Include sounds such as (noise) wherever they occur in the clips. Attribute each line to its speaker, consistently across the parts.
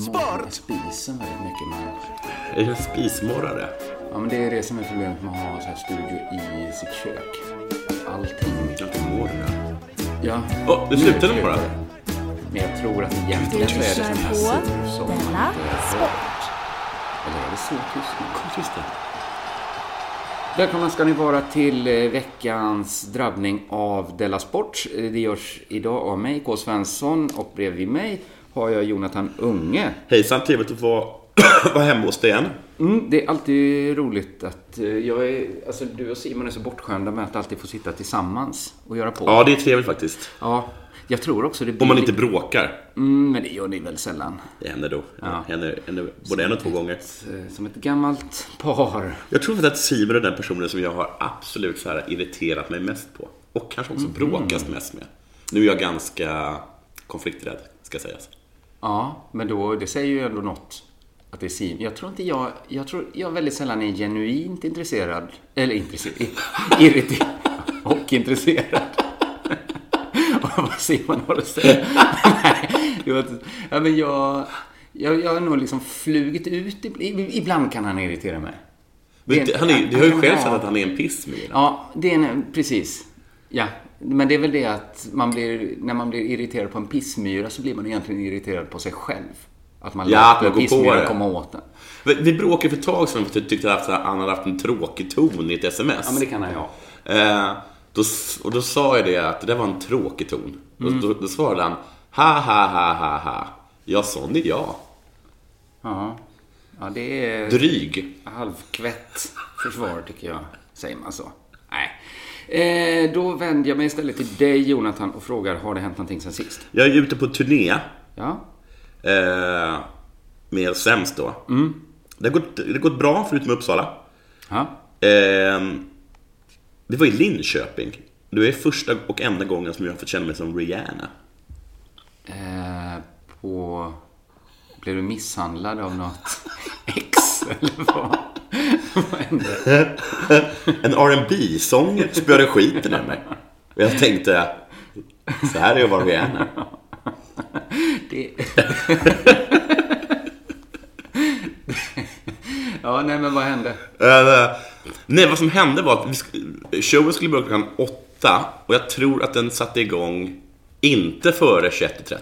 Speaker 1: morrar
Speaker 2: Sport!
Speaker 1: spisen väldigt mycket. Men,
Speaker 3: Är du en spismorrare?
Speaker 1: ja, men det är det som är problemet med att ha så här studio i sitt kök. Allting.
Speaker 3: Att du mår det.
Speaker 1: Ja.
Speaker 3: Åh, nu
Speaker 1: nu
Speaker 3: slutar den
Speaker 1: är det
Speaker 3: bara.
Speaker 1: kök. Men jag tror att egentligen så är det sån här sidor som man inte
Speaker 4: Della
Speaker 1: hör.
Speaker 4: Sport.
Speaker 1: Eller är det så tyst nu?
Speaker 3: Kom, tyst då.
Speaker 1: Välkomna ska ni vara till eh, veckans drabbning av Della Sport. Eh, Det görs idag av mig, K. Svensson, och bredvid mig har jag Jonathan Unge.
Speaker 3: Hejsan, trevligt typ att vara, (coughs) vara hemma hos dig igen.
Speaker 1: Mm, det är alltid roligt att eh, jag är, alltså, du och Simon är så bortskämda med att alltid få sitta tillsammans och göra på.
Speaker 3: Ja, det är trevligt faktiskt.
Speaker 1: Ja, jag tror också det blir...
Speaker 3: Om man inte bråkar.
Speaker 1: Mm, men det gör ni väl sällan.
Speaker 3: Det händer då. Det händer, händer både en och två gånger.
Speaker 1: Eh, Som ett gammalt par.
Speaker 3: Jag tror faktiskt att Simon är den personen som jag har absolut så här irriterat mig mest på. Och kanske också bråkat mest med. Nu är jag ganska konflikträdd, ska sägas.
Speaker 1: Ja, men då, det säger ju ändå något. Att det är Simon. Jag tror inte jag, jag tror jag väldigt sällan är genuint intresserad, eller intresserad, (laughs) irriterad och intresserad. (laughs) Och Vad Simon har att säga. (laughs) Nej, det var inte- ja, men jag, jag, jag har nog liksom flugit ut, ib- ib- ibland kan han irritera mig.
Speaker 3: Men
Speaker 1: Det är-
Speaker 3: det, han är, du har ju
Speaker 1: han
Speaker 3: själv
Speaker 1: är-
Speaker 3: sagt att han är en pissmyra.
Speaker 1: Ja, det är en, precis. Ja, men det är väl det att man blir, när man blir irriterad på en pissmyra så blir man egentligen irriterad på sig själv. Att man
Speaker 3: Ja, att
Speaker 1: låter
Speaker 3: man
Speaker 1: en
Speaker 3: går på
Speaker 1: pissmyra
Speaker 3: det.
Speaker 1: komma åt den.
Speaker 3: Vi- Vi bråkade för ett tag sedan för att jag tyckte att han hade haft en tråkig ton i ett sms.
Speaker 1: Ja, men det kan han ju ha.
Speaker 3: Eh, då, s- och då sa jag det att det där var en tråkig ton. Och då, då svarade han ha ha ha ha ha. Ja, sån är jag.
Speaker 1: Ja, ja det är
Speaker 3: Dryg.
Speaker 1: halvkvätt försvar tycker jag. Säger man så? Nej. Eh, då vänder jag mig istället till dig Jonathan och frågar, har det hänt någonting sen sist?
Speaker 3: Jag är ute på turné.
Speaker 1: Ja,
Speaker 3: Eh, med Sämst då. Det, har gått, det har gått bra förutom Uppsala.
Speaker 1: ja.
Speaker 3: Ehm, vi var i Linköping. Det är första och enda gången som jag har fått känna mig som Rihanna.
Speaker 1: Eh, på... Blev du misshandlad av något (laughs) ex eller vad? vad hände?
Speaker 3: En rb sång spöade skiten ur mig. Och jag tänkte, så här är jag var Rihanna.
Speaker 1: (laughs) Det... ja, nej men vad hände?
Speaker 3: Eh, nej, vad som hände var att vi sk- showen skulle börja klockan åtta och jag tror att den satte igång inte före 21.30.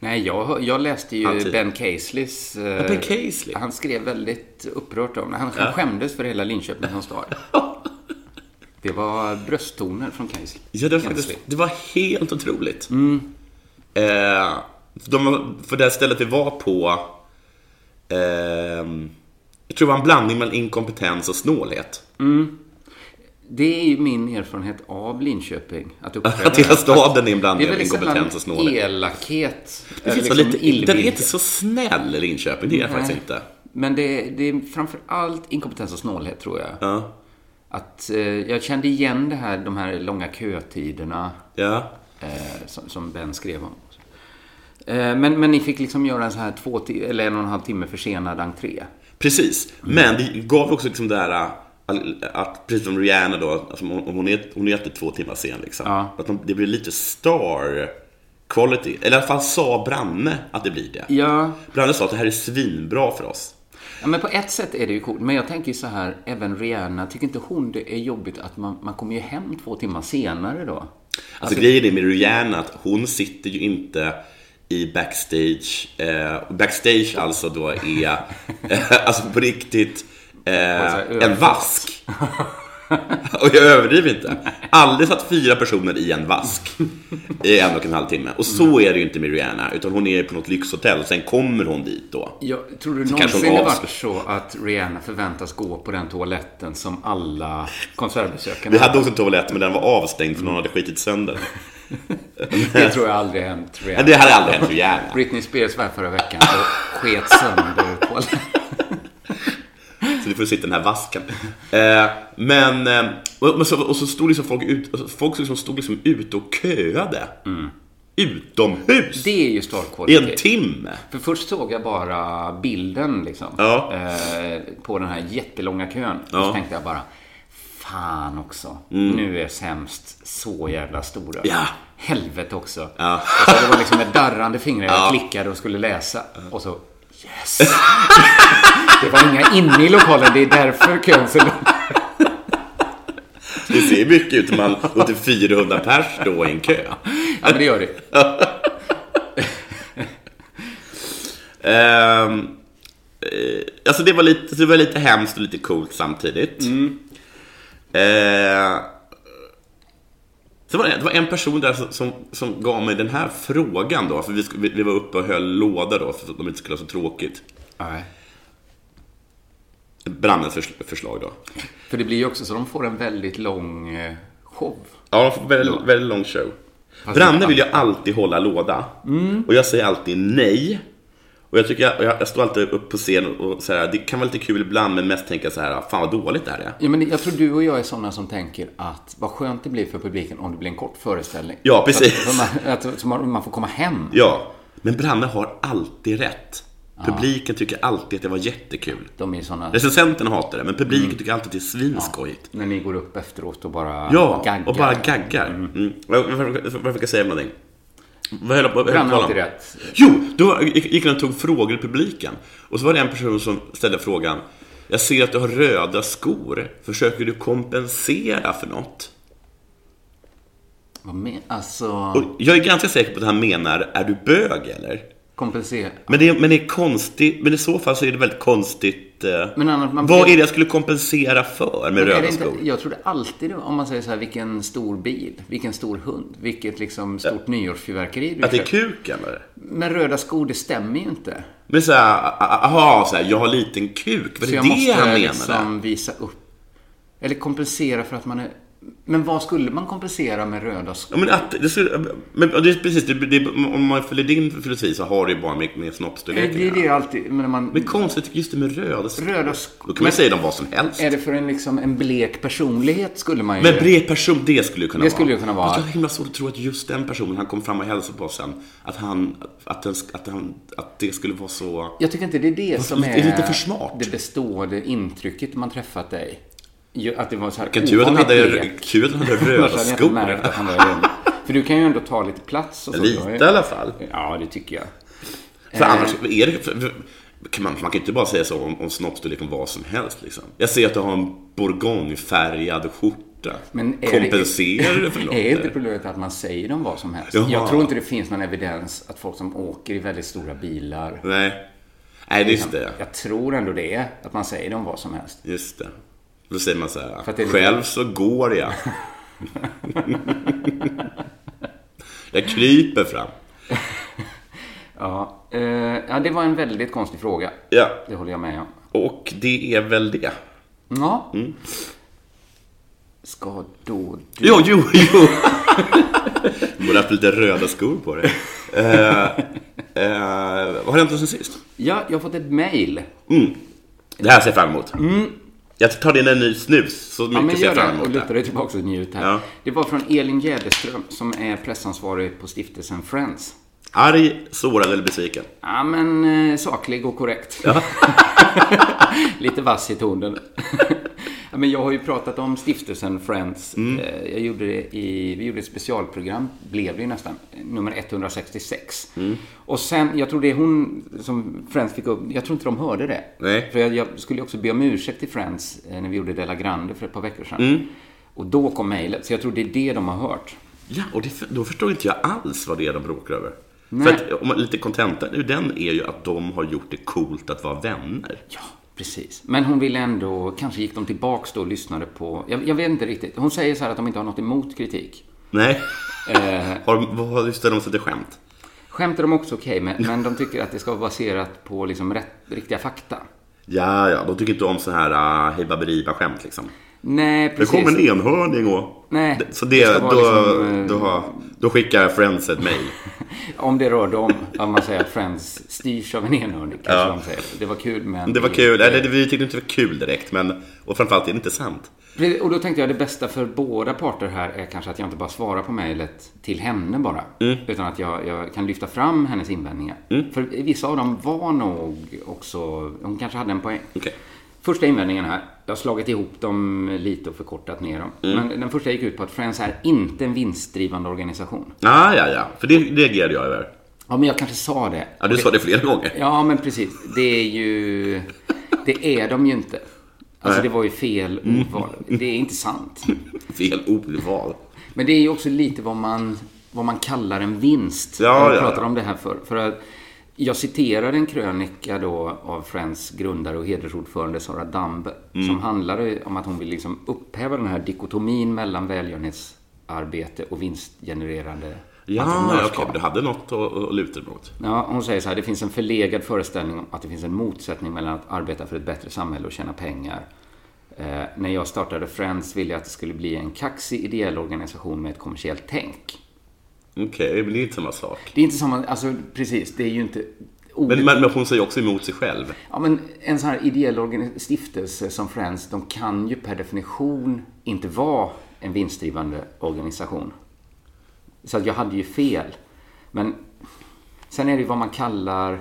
Speaker 1: Nej, jag, hör- jag läste ju
Speaker 3: Han typ-
Speaker 1: Ben Caseleys... eh,
Speaker 3: Ben Casely?
Speaker 1: Han skrev väldigt upprört om det. Han han skämdes för hela Linköping som
Speaker 3: (laughs)
Speaker 1: stad. Det var brösttoner från Casely.
Speaker 3: Ja, det var,
Speaker 1: Casely.
Speaker 3: faktiskt, det var helt otroligt. Eh, för de, för det här stället vi var på, ehm, jag tror det var en blandning mellan inkompetens och snålhet.
Speaker 1: Det är ju min erfarenhet av Linköping. Att, uppträda
Speaker 3: Att hela
Speaker 1: där.
Speaker 3: staden är en
Speaker 1: Det är
Speaker 3: blandning av
Speaker 1: väldigt
Speaker 3: inkompetens och
Speaker 1: sällan
Speaker 3: snålhet.
Speaker 1: elakhet.
Speaker 3: Det
Speaker 1: eller
Speaker 3: finns väl lite, den är inte så snäll, Linköping. Det är jag
Speaker 1: liksom Nej.
Speaker 3: faktiskt inte.
Speaker 1: Men det, det är framför allt inkompetens och snålhet, tror jag.
Speaker 3: Ja.
Speaker 1: Att, eh, jag kände igen det här, de här långa kötiderna
Speaker 3: Ja.
Speaker 1: eh, som, som Ben skrev om. Eh, men, men ni fick liksom göra en så här två, ti- eller en och en halv timme försenad entré.
Speaker 3: Precis,
Speaker 1: Mm.
Speaker 3: men det gav också liksom det här äh, att precis som Rihanna då, alltså hon, hon, är, hon är alltid två timmar sen liksom.
Speaker 1: Ja.
Speaker 3: Att de, det blir lite star quality. Eller i alla fall sa Branne att det blir det.
Speaker 1: Ja,
Speaker 3: Branne sa att det här är svinbra för oss.
Speaker 1: Ja, men på ett sätt är det ju coolt. Men jag tänker ju så här, även Rihanna, tycker inte hon det är jobbigt att man, man kommer ju hem två timmar senare då?
Speaker 3: Alltså, grejen är med Rihanna att hon sitter ju inte i backstage. Eh, backstage alltså då är, eh, alltså på riktigt, eh,
Speaker 1: Alltså,
Speaker 3: en vask. Och jag överdriver inte. Aldrig satt fyra personer i en vask i en och en halv timme. Och så är det ju inte med Rihanna, utan hon är på något lyxhotell. Sen kommer hon dit då.
Speaker 1: Jag, tror du
Speaker 3: kanske hon
Speaker 1: någonsin det
Speaker 3: avs-
Speaker 1: varit så att Rihanna förväntas gå på den toaletten som alla konsertbesökarna
Speaker 3: Vi hade också en toalett, men den var avstängd för någon hade skitit sönder den.
Speaker 1: Det tror jag aldrig hänt Rihanna.
Speaker 3: Men det hade aldrig hänt Rihanna.
Speaker 1: Britney Spears var här förra veckan och sket sönder toaletten.
Speaker 3: Så du får sitta i den här vasken. Eh, men, eh, och, och, så, och så stod liksom folk ut, och så- folk liksom stod liksom ute och köade. Utomhus!
Speaker 1: Det är ju star
Speaker 3: I en
Speaker 1: quality.
Speaker 3: timme!
Speaker 1: För först såg jag bara bilden liksom.
Speaker 3: Ja.
Speaker 1: Eh, på den här jättelånga kön. Och
Speaker 3: Ja. Mm.
Speaker 1: så tänkte jag bara, fan också. Nu är sämst så jävla stora.
Speaker 3: Ja.
Speaker 1: helvete också.
Speaker 3: Ja.
Speaker 1: Och så det var liksom med darrande fingrar jag
Speaker 3: Ja.
Speaker 1: klickade och skulle läsa. Och så yes! (laughs) Det var inga inne i lokalen, det är därför kön så lång.
Speaker 3: Det ser mycket ut om man låter 400 pers stå i en kö.
Speaker 1: Ja, men det gör det.
Speaker 3: Ehm, eh, alltså det var, lite, det var lite hemskt och lite coolt samtidigt. Ehm, så var det, det var en person där som, som, som gav mig den här frågan då, för vi, sk- vi, vi var uppe och höll låda då, för att de inte skulle ha så tråkigt.
Speaker 1: Nej.
Speaker 3: Brandens förs- förslag då.
Speaker 1: För det blir ju också så de får en väldigt lång eh, show.
Speaker 3: Ja, de får väldigt, väldigt lång show. Branne vill ju alltid hålla låda. Och jag säger alltid nej. Och jag, tycker jag, jag, jag står alltid upp på scen och, och så här, det kan vara lite kul ibland, men mest tänka så här, fan vad dåligt det här är.
Speaker 1: Ja, men jag tror du och jag är sådana som tänker att vad skönt det blir för publiken om det blir en kort föreställning.
Speaker 3: Ja, precis.
Speaker 1: Så att, man, att, så man, man får komma hem.
Speaker 3: Ja, men Branne har alltid rätt. Publiken tycker alltid att det var jättekul.
Speaker 1: De är sådana
Speaker 3: Recensenterna hatar det, men publiken
Speaker 1: Mm.
Speaker 3: tycker alltid att det är svinskojigt.
Speaker 1: när ni går upp efteråt och bara
Speaker 3: Ja,
Speaker 1: gaggar.
Speaker 3: och bara gaggar. Mm. Varför varför- varför ska jag säga någonting? Vad höll jag på vad höll jag
Speaker 1: Branne har
Speaker 3: på att tala
Speaker 1: alltid
Speaker 3: om?
Speaker 1: rätt.
Speaker 3: Jo, då gick gick han och tog frågor i publiken. Och så var det en person som ställde frågan. Jag ser att du har röda skor. Försöker du kompensera för något?
Speaker 1: Vad men, alltså,
Speaker 3: Och jag är ganska säker på att han menar, är du bög eller?
Speaker 1: kompensera.
Speaker 3: Men det, är- men det är konstigt, men i så fall så är det väldigt konstigt. eh,
Speaker 1: Men annars, man
Speaker 3: vad
Speaker 1: blir-
Speaker 3: är det jag skulle kompensera för med
Speaker 1: Men är det
Speaker 3: röda
Speaker 1: inte,
Speaker 3: skor?
Speaker 1: jag trodde alltid, det var- om man säger så här, vilken stor bil, vilken stor hund, vilket liksom stort nyårsfyrverkeri du
Speaker 3: Att det är
Speaker 1: köper.
Speaker 3: kuken eller?
Speaker 1: Men röda skor, det stämmer ju inte.
Speaker 3: Men såhär, aha, så här, jag har liten kuk. Vad
Speaker 1: Så
Speaker 3: är
Speaker 1: jag
Speaker 3: det han
Speaker 1: måste
Speaker 3: menade?
Speaker 1: liksom visa upp. Eller kompensera för att man är... Men vad skulle man kompensera med röda skor?
Speaker 3: Ja, men att, det skulle, men ja, det är precis, det, det, om man följer din filosofi så har det ju bara med, med
Speaker 1: Det är
Speaker 3: snoppstorlekarna.
Speaker 1: det alltid, men när man...
Speaker 3: Men konstigt, tycker just det med röda skor.
Speaker 1: Röda
Speaker 3: Då
Speaker 1: skor.
Speaker 3: kan man säga dem vad som helst.
Speaker 1: Är det för en, liksom, en blek personlighet skulle man ju...
Speaker 3: Men bred person, det skulle ju kunna
Speaker 1: Det
Speaker 3: vara.
Speaker 1: skulle ju kunna vara.
Speaker 3: Fast Jag har himla svårt att tro att just den personen, han kom fram och hälsade på oss sen, att han, att, den, att, han, att det skulle vara så...
Speaker 1: Jag tycker inte det är det som
Speaker 3: lite-
Speaker 1: är...
Speaker 3: det är lite för smart.
Speaker 1: Det bestående intrycket när man träffat dig. Ju- Att det var så här
Speaker 3: Vilken tur att han
Speaker 1: ovanligt
Speaker 3: hade,
Speaker 1: blek.
Speaker 3: kul att han
Speaker 1: (laughs) Annars
Speaker 3: hade röda
Speaker 1: hade jag inte
Speaker 3: skor.
Speaker 1: märkt att han var rund. För du kan ju ändå ta lite plats och så.
Speaker 3: Lite i alla fall.
Speaker 1: Ja, Eh. det tycker jag.
Speaker 3: För annars, är det, för, för, kan man, man kan ju inte bara säga så om, om snoppstorleken vad som helst. Liksom. Jag ser att du har en bourgognefärgad skjorta.
Speaker 1: Men är det-
Speaker 3: Kompenserar
Speaker 1: (laughs)
Speaker 3: du för något?
Speaker 1: Är inte
Speaker 3: eller?
Speaker 1: problemet att man säger dem vad som helst?
Speaker 3: Jaha.
Speaker 1: Jag tror inte det finns någon evidens att folk som åker i väldigt stora bilar...
Speaker 3: Nej. Nej, det är just det.
Speaker 1: Jag tror ändå det är att man säger dem vad som helst.
Speaker 3: Just det. Då säger man så här,
Speaker 1: För att det är lite-
Speaker 3: själv så
Speaker 1: (laughs)
Speaker 3: går jag. jag kryper fram.
Speaker 1: Ja, eh, ja, det var en väldigt konstig fråga.
Speaker 3: Ja,
Speaker 1: Det håller jag med om.
Speaker 3: och det är väl det.
Speaker 1: Ja.
Speaker 3: Mm.
Speaker 1: Ska då du...
Speaker 3: Jo, jo, jo. Du borde haft lite röda skor
Speaker 1: (laughs)
Speaker 3: på dig. Eh, eh, vad har hänt sen sist?
Speaker 1: Ja, jag har fått ett mail.
Speaker 3: Det här ser jag fram emot. Jag tar in en ny snus, så mycket
Speaker 1: Mm. Ja, men
Speaker 3: ser
Speaker 1: gör
Speaker 3: jag fram
Speaker 1: det och
Speaker 3: emot. Det.
Speaker 1: luta dig tillbaka och njut här.
Speaker 3: Ja.
Speaker 1: Det var från Elin Jäderström som är pressansvarig på stiftelsen Friends.
Speaker 3: Arg, sårad eller besviken?
Speaker 1: Ja, men eh, saklig och korrekt. (laughs) Lite vass i tonen. (laughs) ja, men jag har ju pratat om stiftelsen Friends. Eh, Jag gjorde det i, vi gjorde ett specialprogram, blev det ju nästan, nummer 166. Och sen, jag tror det är hon som Friends fick upp, jag tror inte de hörde det.
Speaker 3: Nej.
Speaker 1: För jag, jag skulle ju också be om ursäkt till Friends eh, när vi gjorde Della Grande för ett par veckor sedan. Och då kom mejlet, så jag tror det är det de har hört.
Speaker 3: Ja, och det, då förstår inte jag alls vad det är de bråkar över.
Speaker 1: Nej.
Speaker 3: För att, om man, lite kontentan nu den är ju att de har gjort det coolt att vara vänner.
Speaker 1: Ja, precis. Men hon ville ändå, kanske gick de tillbaks då och lyssnade på, jag, jag vet inte riktigt. Hon säger så här att de inte har något emot kritik.
Speaker 3: Nej.
Speaker 1: Eh.
Speaker 3: (laughs) har de, vad har just det, de sätter skämt?
Speaker 1: Skämt är de också okej med, men de tycker att det ska vara baserat på liksom rätt, riktiga fakta.
Speaker 3: Ja, ja, de tycker inte om så här uh, hej baberiba skämt liksom.
Speaker 1: Nej,
Speaker 3: Det
Speaker 1: precis.
Speaker 3: kom en enhörning och...
Speaker 1: Nej,
Speaker 3: Så
Speaker 1: det
Speaker 3: det,
Speaker 1: ska vara
Speaker 3: då,
Speaker 1: liksom, eh,
Speaker 3: då, har- då skickar Friends ett mejl.
Speaker 1: Om det rör dem, om man säger att Friends styrs av en enhörning, kanske de säger. Det var kul, men...
Speaker 3: Det var kul. Nej, det, vi tyckte inte det var kul direkt, men... Och framförallt är det inte sant.
Speaker 1: Och då tänkte jag det bästa för båda parter här är kanske att jag inte bara svarar på mejlet till henne bara. Utan att jag, jag kan lyfta fram hennes invändningar. För vissa av dem var nog också... Hon kanske hade en poäng.
Speaker 3: Okej.
Speaker 1: Första invändningen här. Jag har slagit ihop dem lite och förkortat ner dem. Men den första gick ut på att Friends är inte en vinstdrivande organisation.
Speaker 3: Ah, ja, ja. För det reagerade jag över.
Speaker 1: Ja, men jag kanske sa det.
Speaker 3: Ja, du sa det flera gånger. (laughs)
Speaker 1: Ja, men precis. Det är ju... Det är de ju inte. Alltså, det var ju fel ordval. Det är inte sant.
Speaker 3: Fel ordval.
Speaker 1: Men det är ju också lite vad man, vad man kallar en vinst.
Speaker 3: Ja,
Speaker 1: jag
Speaker 3: ja,
Speaker 1: pratade
Speaker 3: ja.
Speaker 1: om det här för, för att Jag citerade en krönika då av Friends grundare och hedersordförande Sara Damb
Speaker 3: Mm.
Speaker 1: som handlade om att hon vill liksom upphäva den här dikotomin mellan välgörenhetsarbete och vinstgenererande
Speaker 3: Ja, ja,
Speaker 1: entreprenörskap.
Speaker 3: okej. Du hade något att, att luta dig mot.
Speaker 1: Ja, hon säger så här, det finns en förlegad föreställning om att det finns en motsättning mellan att arbeta för ett bättre samhälle och tjäna pengar. Eh, när jag startade Friends ville jag att det skulle bli en kaxig ideell organisation med ett kommersiellt tänk.
Speaker 3: Okej, men det är inte samma sak.
Speaker 1: Det är inte samma, alltså precis, det är ju inte...
Speaker 3: Men, men, men hon säger också emot sig själv.
Speaker 1: Ja, men en sån här ideell organi- stiftelse som Friends, de kan ju per definition inte vara en vinstdrivande organisation. Så att jag hade ju fel. Men sen är det ju vad man kallar...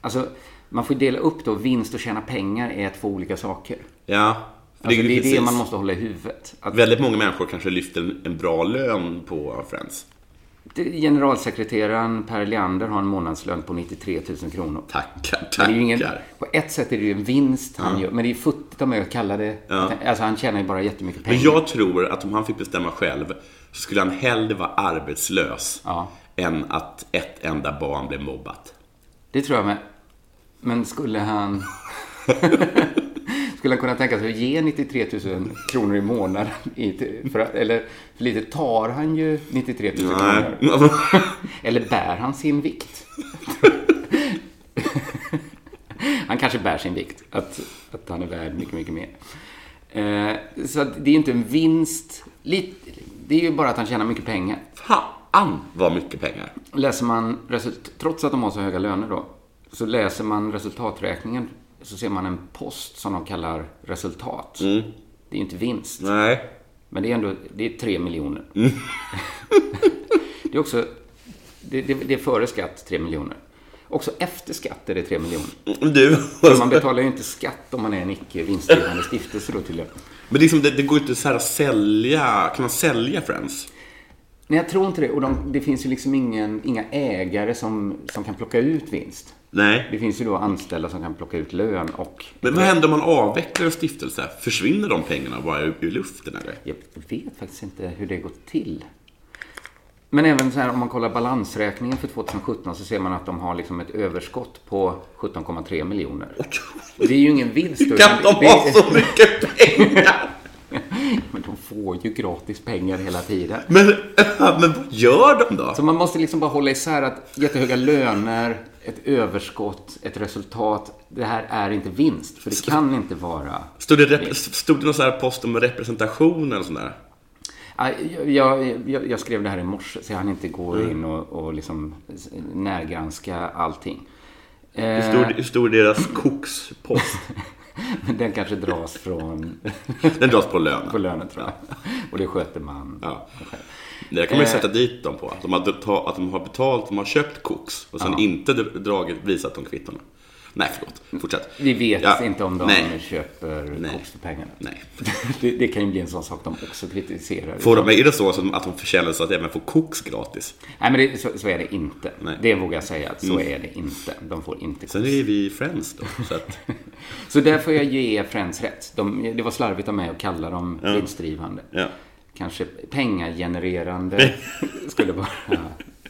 Speaker 1: Alltså, man får ju dela upp då vinst och tjäna pengar är två olika saker.
Speaker 3: Ja. för
Speaker 1: Alltså, det är
Speaker 3: precis.
Speaker 1: det man måste hålla i huvudet. Att
Speaker 3: Väldigt många människor kanske lyfter en, en bra lön på Friends.
Speaker 1: det- generalsekreteraren Per Leander har en månadslön på 93 000 kronor.
Speaker 3: Tackar,
Speaker 1: Men
Speaker 3: tackar.
Speaker 1: det är ju ingen, på ett sätt är det ju en vinst han gör, men det är ju futtigt av mig att kalla det... Alltså han tjänar ju bara jättemycket pengar.
Speaker 3: Men jag tror att om han fick bestämma själv så skulle han hellre vara arbetslös
Speaker 1: Ja.
Speaker 3: än att ett enda barn blev mobbat.
Speaker 1: Det tror jag med. Men skulle
Speaker 3: (laughs)
Speaker 1: han... skulle han kunna tänka sig att ge 93 000 kronor i månaden? i- För att, eller för lite tar han ju 93 000 kronor. Eller bär han sin vikt? han kanske bär sin vikt. Att, att han är värd mycket, mycket mer. Eh, så att det är inte en vinst. Lite, det är ju bara att han tjänar mycket pengar.
Speaker 3: (laughs) Fan vad mycket pengar.
Speaker 1: Läser man, result- trots att de har så höga löner då, så läser man resultaträkningen så ser man en post som de kallar resultat. Det är ju inte vinst,
Speaker 3: Nej.
Speaker 1: men det är ändå det är 3 miljoner. (laughs) det är också, det, det, det är före skatt 3 miljoner. Också efter skatt är det 3 miljoner.
Speaker 3: Du.
Speaker 1: Men man betalar ju inte skatt om man är en icke vinstdrivande stiftelse då till
Speaker 3: Men liksom, det, det går inte så här att sälja. Kan man sälja Friends?
Speaker 1: Nej, jag tror inte det. Och de, det finns ju liksom ingen, inga ägare som, som kan plocka ut vinst.
Speaker 3: Nej.
Speaker 1: Det finns ju då anställda som kan plocka ut lön och...
Speaker 3: Men vad händer om man avvecklar en stiftelse? Försvinner de pengarna bara ur, ur luften eller?
Speaker 1: Jag vet faktiskt inte hur det går till. Men även så här, om man kollar balansräkningen för 2017 så ser man att de har liksom ett överskott på 17,3 miljoner. Det är ju ingen vinst.
Speaker 3: Hur kan de ha så mycket pengar?
Speaker 1: Men de får ju gratis pengar hela tiden.
Speaker 3: Men, (laughs) men vad gör de då?
Speaker 1: Så man måste liksom bara hålla isär att jättehöga löner, ett överskott, ett resultat. Det här är inte vinst, för det kan inte vara
Speaker 3: Stod det, rep- stod det någon sån här post om representation eller sån där?
Speaker 1: Nej, Ah, Jag, jag- jag, jag skrev det här i morse så jag hann inte gå
Speaker 3: Mm.
Speaker 1: in och, och liksom s- närgranska allting.
Speaker 3: Hur
Speaker 1: Eh,
Speaker 3: stor, hur stor är deras kokspost?
Speaker 1: (laughs) den kanske dras från
Speaker 3: (laughs)
Speaker 1: (laughs)
Speaker 3: Den dras på
Speaker 1: på
Speaker 3: lönen.
Speaker 1: lönen tror jag. Och det sköter man.
Speaker 3: Ja. Det kan man ju sätta dit dem på. Att de har, beta- att de har betalt, de har köpt koks och sen inte dr- dragit, visat de kvittona. Nej, förlåt. Fortsätt.
Speaker 1: Vi vet
Speaker 3: Ja,
Speaker 1: inte om de
Speaker 3: nej.
Speaker 1: köper
Speaker 3: Nej.
Speaker 1: koks för pengarna. (laughs)
Speaker 3: Nej.
Speaker 1: Det, det kan ju bli en sån sak de också kritiserar.
Speaker 3: Får de, är det så som att de förtjänar så att även får koks gratis?
Speaker 1: Nej, men det, så, så är det inte.
Speaker 3: Nej. Mm.
Speaker 1: Det vågar jag säga. att Så är det inte. De får inte
Speaker 3: Sen är vi friends då. Så att,
Speaker 1: Så där får jag ge Friends rätt. De, det var slarvigt av mig att kalla dem vinstdrivande.
Speaker 3: (laughs) Ja.
Speaker 1: Kanske pengagenererande (laughs) skulle vara...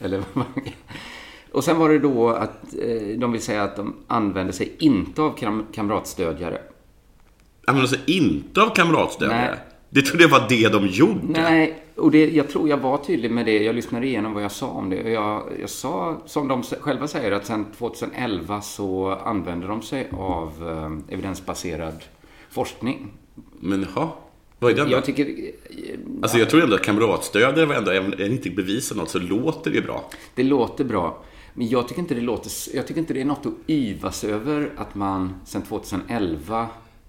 Speaker 1: Eller vad man- Och sen var det då att eh, de vill säga att de använder sig inte av kam- kamratstödjare.
Speaker 3: använder sig alltså, inte av kamratstödjare. Det trodde jag var det de gjorde.
Speaker 1: Nej, och det, jag tror jag var tydlig med det. Jag lyssnade igenom vad jag sa om det. Och jag, jag sa, som de själva säger, att sedan 2011 så använder de sig av eh, evidensbaserad forskning.
Speaker 3: Men jaha, vad är den då?
Speaker 1: Jag tycker eh,
Speaker 3: Alltså jag tror ändå att kamratstödjare var ändå, även om det inte bevisar något så låter det ju bra.
Speaker 1: Det låter bra. Men jag tycker inte det låter... Jag tycker inte det är något att yvas över att man sedan 2011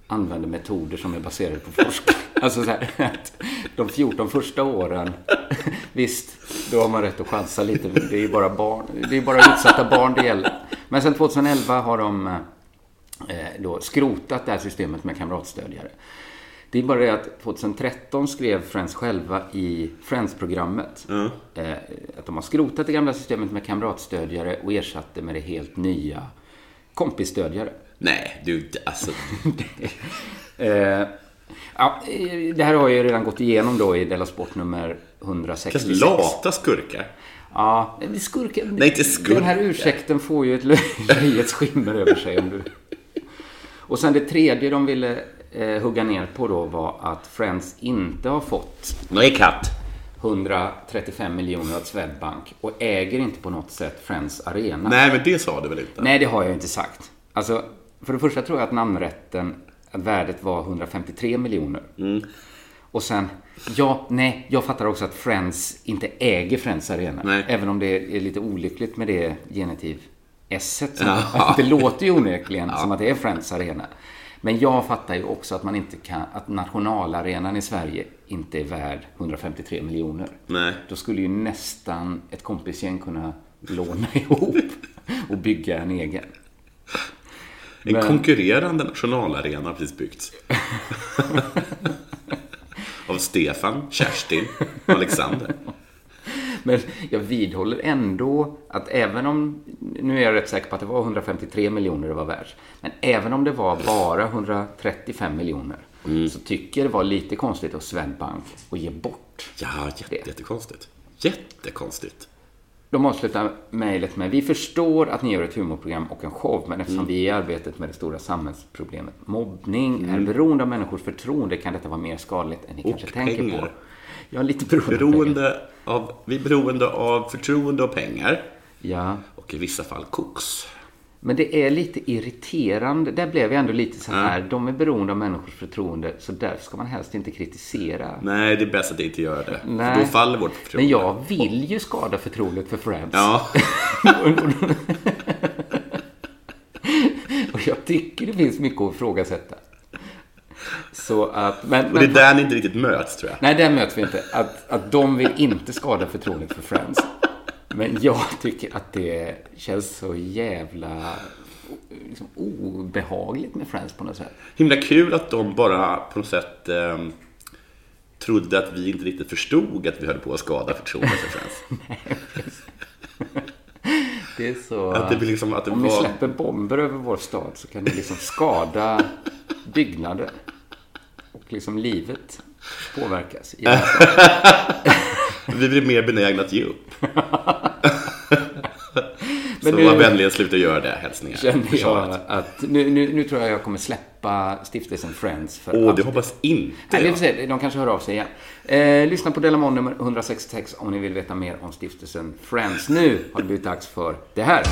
Speaker 1: använder metoder som är baserade på forskning. Alltså så här, att de 14 första åren, (laughs) visst, då har man rätt att chansa lite. Det är ju bara barn, det är bara utsatta barn det gäller. Men sedan 2011 har de eh, eh, då skrotat det här systemet med kamratstödjare. Det är bara det att 2013 skrev Friends själva i Friends-programmet eh, att de har skrotat det gamla systemet med kamratstödjare och ersatt det med det helt nya kompisstödjare.
Speaker 3: Nej, du, alltså.
Speaker 1: Eh, ja, eh, det här har jag ju redan gått igenom då i Della Sport nummer 166.
Speaker 3: Vilka lata skurkar.
Speaker 1: Ja, det är skurken.
Speaker 3: Nej, inte skurken.
Speaker 1: Den här ursäkten får ju ett
Speaker 3: (laughs)
Speaker 1: löjets skimmer över sig. Om du... Och sen det tredje de ville eh, hugga ner på då var att Friends inte har fått
Speaker 3: Nej, katt.
Speaker 1: 135 miljoner av Swedbank och äger inte på något sätt Friends Arena.
Speaker 3: Nej, men det sa du väl inte?
Speaker 1: Nej, det har jag inte sagt. Alltså, för det första tror jag att namnrätten, att värdet var 153 miljoner.
Speaker 3: Mm.
Speaker 1: Och sen, ja, nej, jag fattar också att Friends inte äger Friends Arena.
Speaker 3: Nej.
Speaker 1: Även om det är lite olyckligt med det genitiv s som,
Speaker 3: Ja.
Speaker 1: (laughs) Det låter ju
Speaker 3: (laughs)
Speaker 1: onekligen som att det är Friends Arena. Men jag fattar ju också att man inte kan, att nationalarenan i Sverige inte är värd 153 miljoner.
Speaker 3: Nej.
Speaker 1: Då skulle ju nästan ett kompisgäng kunna låna (laughs) ihop och bygga en egen.
Speaker 3: En konkurrerande nationalarena har
Speaker 1: (laughs)
Speaker 3: precis byggts. Av Stefan, Kerstin och Alexander.
Speaker 1: Men jag vidhåller ändå att även om, nu är jag rätt säker på att det var 153 miljoner det var värt, men även om det var bara 135 miljoner så tycker jag det var lite konstigt av Swedbank att ge bort.
Speaker 3: Ja, jätte, jättekonstigt. Jättekonstigt.
Speaker 1: De avslutar mejlet med Vi förstår att ni gör ett humorprogram och en show, men eftersom
Speaker 3: Mm.
Speaker 1: vi i arbetet med det stora samhällsproblemet mobbning
Speaker 3: Mm.
Speaker 1: är beroende av människors förtroende kan detta vara mer skadligt än ni kanske tänker på.
Speaker 3: pengar.
Speaker 1: Ja, lite beroende. av pengar.
Speaker 3: Beroende av, vi är beroende av förtroende och pengar.
Speaker 1: Ja.
Speaker 3: Och i vissa fall koks.
Speaker 1: Men det är lite irriterande. Där blev jag ändå lite så här. De är beroende av människors förtroende, så därför ska man helst inte kritisera.
Speaker 3: Nej, det är bäst att inte göra det. För
Speaker 1: Nej.
Speaker 3: Då faller vårt förtroende.
Speaker 1: Men jag vill ju skada förtroendet för Friends. (laughs)
Speaker 3: Ja,
Speaker 1: Och jag tycker det finns mycket att ifrågasätta. Så att, men,
Speaker 3: och det är
Speaker 1: men
Speaker 3: där ni inte riktigt möts tror jag.
Speaker 1: Nej, där möts vi inte. Att, att de vill inte skada förtroendet för Friends. Men jag tycker att det känns så jävla liksom, obehagligt med Friends på något sätt. (laughs)
Speaker 3: Himla kul att de bara på något sätt ehm, trodde att vi inte riktigt förstod att vi höll på att skada förtroendet för Friends.
Speaker 1: Det är så...
Speaker 3: Att det blir liksom att det
Speaker 1: Om ni
Speaker 3: var...
Speaker 1: släpper bomber över vår stad så kan ni liksom skada
Speaker 3: (laughs)
Speaker 1: byggnader. Och liksom livet påverkas. i
Speaker 3: Äh,
Speaker 1: den här staden.
Speaker 3: Vi blir mer benägna att ge upp.
Speaker 1: Men
Speaker 3: så
Speaker 1: nu-
Speaker 3: var vänliga sluta göra det. Hälsningar.
Speaker 1: Känner jag
Speaker 3: Försvaret.
Speaker 1: att nu, nu, nu tror jag jag kommer släppa stiftelsen Friends för
Speaker 3: Åh, det
Speaker 1: alltid.
Speaker 3: hoppas inte
Speaker 1: Nej, vi
Speaker 3: jag.
Speaker 1: får se. De kanske hör av sig igen. Eh, lyssna på Delamon nummer 166 om ni vill veta mer om stiftelsen Friends. Nu har det blivit dags för det här.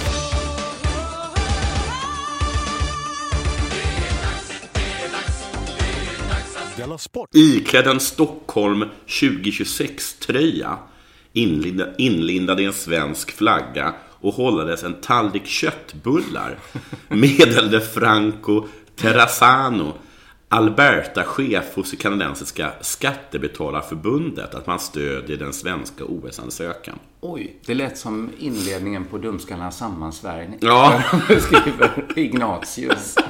Speaker 2: Della Sport!
Speaker 3: Iklädd en Stockholm 2026-tröja inlinda- inlindad i en svensk flagga och hållades en tallrik köttbullar meddelade Franco Terrazzano, Alberta-chef hos det kanadensiska Skattebetalarförbundet, att man stödjer den svenska OS-ansökan.
Speaker 1: Oj, det lät som inledningen på Dumskallarnas sammansvärjning.
Speaker 3: Ja.
Speaker 1: (laughs) skriver Ignatius. (laughs)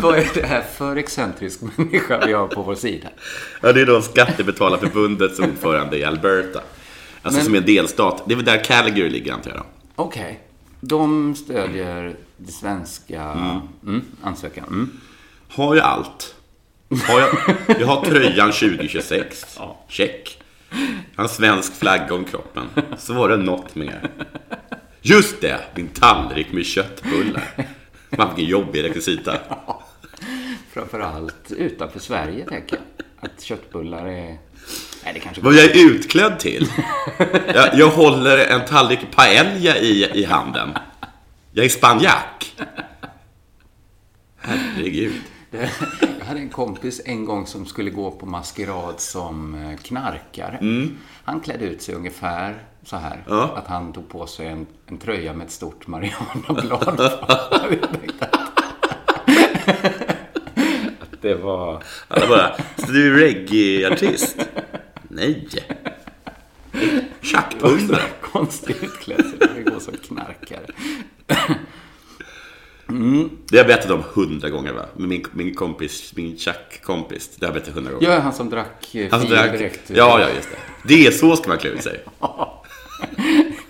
Speaker 1: Vad är det här för excentrisk människa vi har på vår sida?
Speaker 3: Ja, det är då Skattebetalarförbundets ordförande i Alberta. Alltså som är en delstat. Det är väl där Calgary ligger antar jag då.
Speaker 1: Okej, de stödjer det svenska mm, ansökan. Mm.
Speaker 3: Har jag allt? Har jag, jag har tröjan 2026. Check. Jag har en svensk flagga om kroppen. Så var det något mer. Just det! Din tallrik med köttbullar. Man vilken jobbig rekvisita.
Speaker 1: Framförallt utanför Sverige, tänker jag. Att köttbullar är... Nej, det kanske...
Speaker 3: Vad jag är utklädd till? Jag, jag håller en tallrik paella i, i handen. Jag är spanjack. Herregud.
Speaker 1: Jag hade en kompis en gång som skulle gå på maskerad som eh, knarkare. Han klädde ut sig ungefär så här.
Speaker 3: Mm. Ja.
Speaker 1: Att han tog på sig en, en tröja med ett stort marijuanablad på. Jag tänkte att- att Det var...
Speaker 3: Alla bara, så du är reggae-artist? Nej. Chuck
Speaker 1: Det var så
Speaker 3: Pundra.
Speaker 1: här konstig utklädsel. Det går som knarkare.
Speaker 3: Det har jag berättat om hundra gånger va? Men min, min kompis, min tjackkompis, det har jag berättat hundra gånger.
Speaker 1: Jag är han som drack eh,
Speaker 3: Han som
Speaker 1: fin
Speaker 3: drack-
Speaker 1: direkt.
Speaker 3: Ja, ja, just det. Det är så ska man klä ut sig.
Speaker 1: (laughs)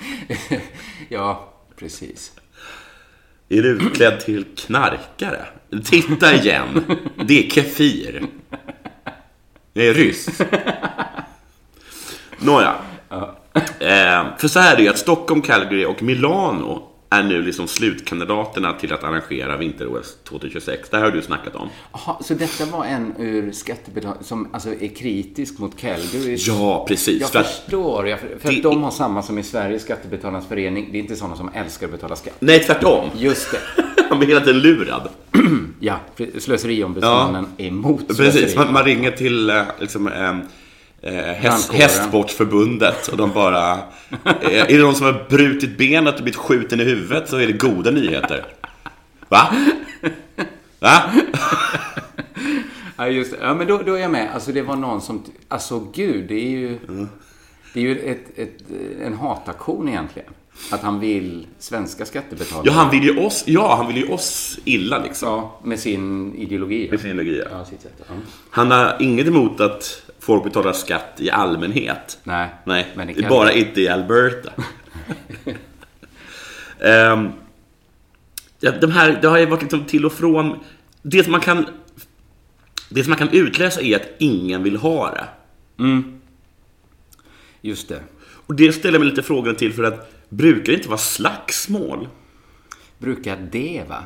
Speaker 1: ja, precis.
Speaker 3: Är du utklädd till knarkare? Titta igen. Det är Kefir. Jag är ryss. Nåja. Eh, för så här är det ju att Stockholm, Calgary och Milano är nu liksom slutkandidaterna till att arrangera vinter-OS 2026. Det här har du snackat om.
Speaker 1: Aha, så detta var en ur skattebetal som alltså är kritisk mot Calgary?
Speaker 3: Ja, precis.
Speaker 1: Jag
Speaker 3: för att,
Speaker 1: förstår. Jag, för för
Speaker 3: Det-
Speaker 1: att de har samma som i Sverige, Skattebetalarnas förening. Det är inte sådana som älskar att betala skatt.
Speaker 3: nej, tvärtom. (laughs)
Speaker 1: Just det.
Speaker 3: Man blir hela tiden lurad.
Speaker 1: Ja, för- Slöseriombudsmannen är emot
Speaker 3: Precis,
Speaker 1: slöseri.
Speaker 3: man, man ringer till eh, liksom, eh, eh, häst,
Speaker 1: Brandkåren.
Speaker 3: hästsportförbundet och de bara... Eh, är det någon som har brutit benet och blivit skjuten i huvudet så är det goda nyheter. Va? Va?
Speaker 1: Ja, just det. Ja, men då, då är jag med. Alltså, det var någon som... Alltså, gud, det är ju...
Speaker 3: Mm.
Speaker 1: Det är ju ett, ett, en hataktion egentligen. Att han vill svenska skattebetalare.
Speaker 3: Ja, han vill ju oss, ja, han vill ju oss illa liksom.
Speaker 1: Ja, med sin ideologi.
Speaker 3: Med sin ideologi. ja.
Speaker 1: Ja, sitt sätt. Ja.
Speaker 3: Han har inget emot att folk betalar skatt i allmänhet.
Speaker 1: Nej,
Speaker 3: Nej,
Speaker 1: men det kan
Speaker 3: bara
Speaker 1: vi.
Speaker 3: inte i Alberta. Ehm, ja, de här, det har ju varit liksom till och från. Det som man kan, det som man kan utläsa är att ingen vill ha det.
Speaker 1: Just det.
Speaker 3: Och det ställer jag mig lite frågan till för att brukar det inte vara slagsmål?
Speaker 1: Brukar det, va?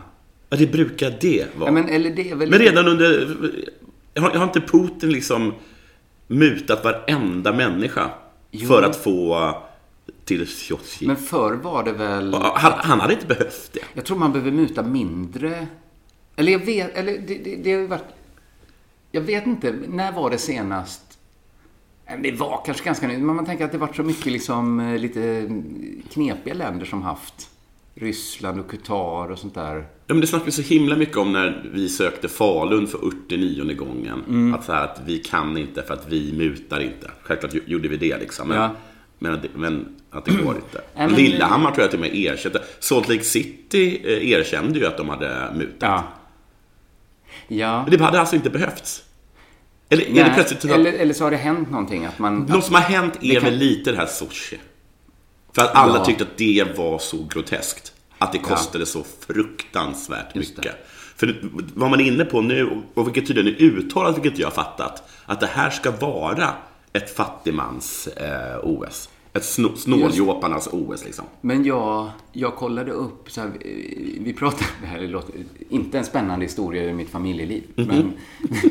Speaker 3: Ja, det brukar det vara.
Speaker 1: Ja,
Speaker 3: men,
Speaker 1: men, eller det är väl...
Speaker 3: redan under... Har, har inte Putin liksom mutat varenda människa
Speaker 1: Jo.
Speaker 3: för att få till Sjotjij?
Speaker 1: Men förr var det väl...
Speaker 3: Han, han hade inte behövt det.
Speaker 1: Jag tror man behöver muta mindre. Eller jag vet, eller det, det, det har ju varit... Jag vet inte, när var det senast? Nej, Det var kanske ganska nytt, men man tänker att det varit så mycket liksom eh, lite knepiga länder som haft. Ryssland och Qatar och sånt där.
Speaker 3: Ja, men det snackades så himla mycket om när vi sökte Falun för 89 gången.
Speaker 1: Mm.
Speaker 3: Att, så här, att vi kan inte för att vi mutar inte. Självklart ju- gjorde vi det liksom. Men,
Speaker 1: Ja.
Speaker 3: men, att det- men att det
Speaker 1: (clears throat)
Speaker 3: går inte.
Speaker 1: men-
Speaker 3: Lillehammar tror jag till och med erkände. Salt Lake City eh, erkände ju att de hade mutat.
Speaker 1: Ja. Ja.
Speaker 3: Men det hade alltså inte behövts. Eller, är det
Speaker 1: Nej,
Speaker 3: plötsligt så att,
Speaker 1: eller, eller så har det hänt någonting att man...
Speaker 3: Något som har hänt är
Speaker 1: kan-
Speaker 3: väl lite det här sushi. För att alla
Speaker 1: Ja.
Speaker 3: tyckte att det var så groteskt. Att det kostade så fruktansvärt
Speaker 1: Just det.
Speaker 3: mycket. För vad man är inne på nu, och vilket tydligen är uttalat, vilket jag har fattat, att det här ska vara ett fattigmans eh, OS. Ett snå- snåljåparnas OS liksom.
Speaker 1: Men jag, jag kollade upp, så här, eh, vi pratade, (laughs) det här låter, inte en spännande historia ur mitt familjeliv, men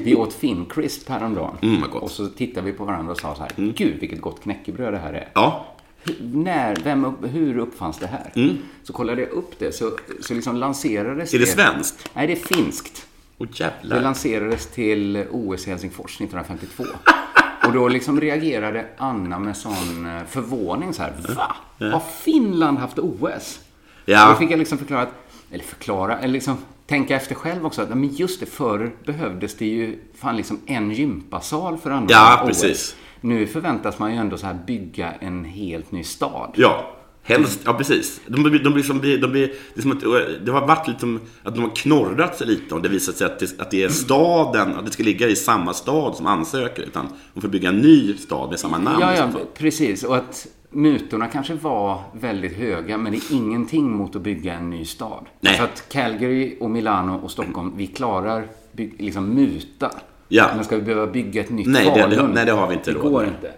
Speaker 1: vi åt Finncrisp häromdagen.
Speaker 3: Mhm. Mm, vad gott. Mm.
Speaker 1: och så tittade vi på varandra och sa så här, gud vilket gott knäckebröd det här är.
Speaker 3: Ja,
Speaker 1: Hur- När, vem, upp- hur uppfanns det här? Så kollade jag upp det, så, så liksom lanserades
Speaker 3: Mm. är det svenskt?
Speaker 1: Nej, det är finskt.
Speaker 3: Åh
Speaker 1: Det
Speaker 3: jävlar.
Speaker 1: lanserades till OS i Helsingfors 1952.
Speaker 3: (laughs)
Speaker 1: Och då liksom reagerade Anna med sån eh, förvåning så här. Va? Har Finland haft OS?
Speaker 3: Ja.
Speaker 1: Och Då fick jag liksom förklara, att, eller förklara, eller liksom tänka efter själv också. Att, nej, men just det, förr behövdes det ju fan liksom en gympasal för att anordna
Speaker 3: Ja,
Speaker 1: OS.
Speaker 3: precis.
Speaker 1: Nu förväntas man ju ändå så här bygga en helt ny stad.
Speaker 3: Ja, helst. Ja, precis. De, blir- de blir som, de blir, det, är som att, det har varit lite som att de har knorrat sig lite och det visat sig att det, att det är staden, att det ska ligga i samma stad som ansöker. Utan de får bygga en ny stad med samma namn. liksom.
Speaker 1: Ja, ja,
Speaker 3: i så fall.
Speaker 1: precis. Och att mutorna kanske var väldigt höga, men det är ingenting mot att bygga en ny stad.
Speaker 3: Nej.
Speaker 1: Så att Calgary och Milano och Stockholm, vi klarar byg- liksom muta.
Speaker 3: Ja.
Speaker 1: Men ska vi behöva bygga ett nytt
Speaker 3: Nej, det-
Speaker 1: Falun?
Speaker 3: det- nej, det har vi inte
Speaker 1: Det
Speaker 3: råd
Speaker 1: går
Speaker 3: med.
Speaker 1: inte.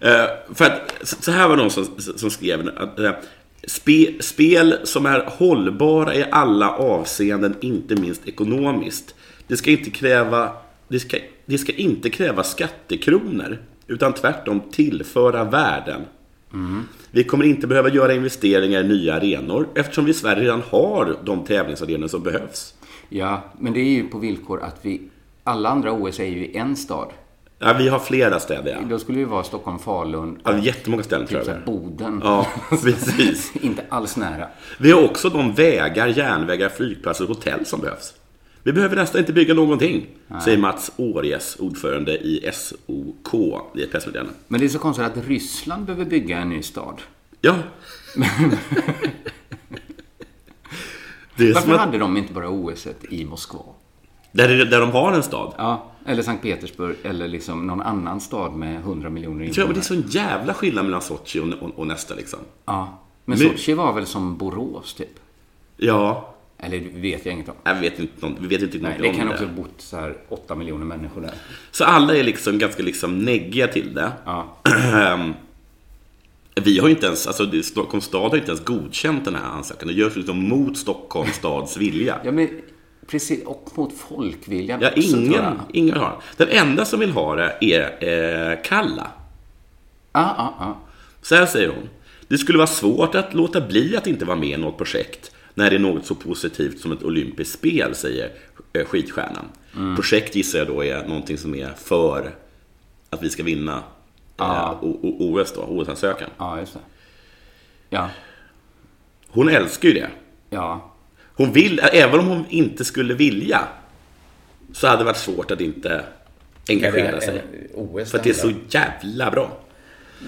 Speaker 3: Eh, för att, så så här var någon som, som skrev att eh, spe, spel som är hållbara i alla avseenden, inte minst ekonomiskt. Det ska inte kräva, det ska, det ska inte kräva skattekronor, utan tvärtom tillföra värden.
Speaker 1: Mm.
Speaker 3: Vi kommer inte behöva göra investeringar i nya arenor eftersom vi i Sverige redan har de tävlingsarenor som behövs.
Speaker 1: Ja, men det är ju på villkor att vi... Alla andra OS är ju i en stad.
Speaker 3: Ja, vi har flera städer. Ja.
Speaker 1: Då skulle det ju vara Stockholm, Falun,
Speaker 3: Ja, jättemånga ställen tror
Speaker 1: typ
Speaker 3: jag.
Speaker 1: så
Speaker 3: det
Speaker 1: här
Speaker 3: är.
Speaker 1: Boden.
Speaker 3: Ja, precis.
Speaker 1: (laughs) inte alls nära.
Speaker 3: Vi har också de vägar, järnvägar, flygplatser och hotell som behövs. Vi behöver nästan inte bygga någonting, säger Mats Årjes, ordförande i SOK, i ett pressmeddelande.
Speaker 1: Men det är så konstigt att Ryssland behöver (laughs) bygga en ny stad.
Speaker 3: Ja. Det är
Speaker 1: Varför
Speaker 3: som att,
Speaker 1: hade de inte bara OS et i Moskva?
Speaker 3: där, är- där de har en stad.
Speaker 1: Ja, eller Sankt Petersburg eller liksom någon annan stad med 100 miljoner
Speaker 3: Jag tror att
Speaker 1: invånare.
Speaker 3: det är sån jävla skillnad mellan Sochi och, och, och nästa liksom.
Speaker 1: Ja, men
Speaker 3: Men-
Speaker 1: Sochi var väl som Borås typ?
Speaker 3: Ja,
Speaker 1: Eller det vet jag inget om.
Speaker 3: jag vet inte, någon- vi vet inte
Speaker 1: Nej,
Speaker 3: något
Speaker 1: det
Speaker 3: om
Speaker 1: kan
Speaker 3: det.
Speaker 1: också ha bott så här 8 miljoner människor där.
Speaker 3: Så alla är liksom ganska liksom neggiga till det.
Speaker 1: Ja.
Speaker 3: Vi har ju inte ens, alltså det- Stockholms stad har ju inte ens godkänt den här ansökan. Det görs liksom mot Stockholms stads vilja.
Speaker 1: ja, men precis. Och mot folkviljan
Speaker 3: Ja,
Speaker 1: också, tror jag.
Speaker 3: ingen, ingen har den. Den enda som vill ha det är eh, Kalla.
Speaker 1: Ja, ja, ja.
Speaker 3: Så här säger hon. Det skulle vara svårt att låta bli att inte vara med i något projekt när det är något så positivt som ett olympiskt spel, säger eh, skidstjärnan.
Speaker 1: Mm.
Speaker 3: Projekt gissar jag då är någonting som är för att vi ska vinna eh, O- O- OS då, OS-ansökan.
Speaker 1: Ja, just det. Ja,
Speaker 3: Hon älskar ju det.
Speaker 1: ja.
Speaker 3: Hon vill, även om hon inte skulle vilja, så hade det varit svårt att inte engagera sig.
Speaker 1: OS
Speaker 3: För att det är så jävla bra.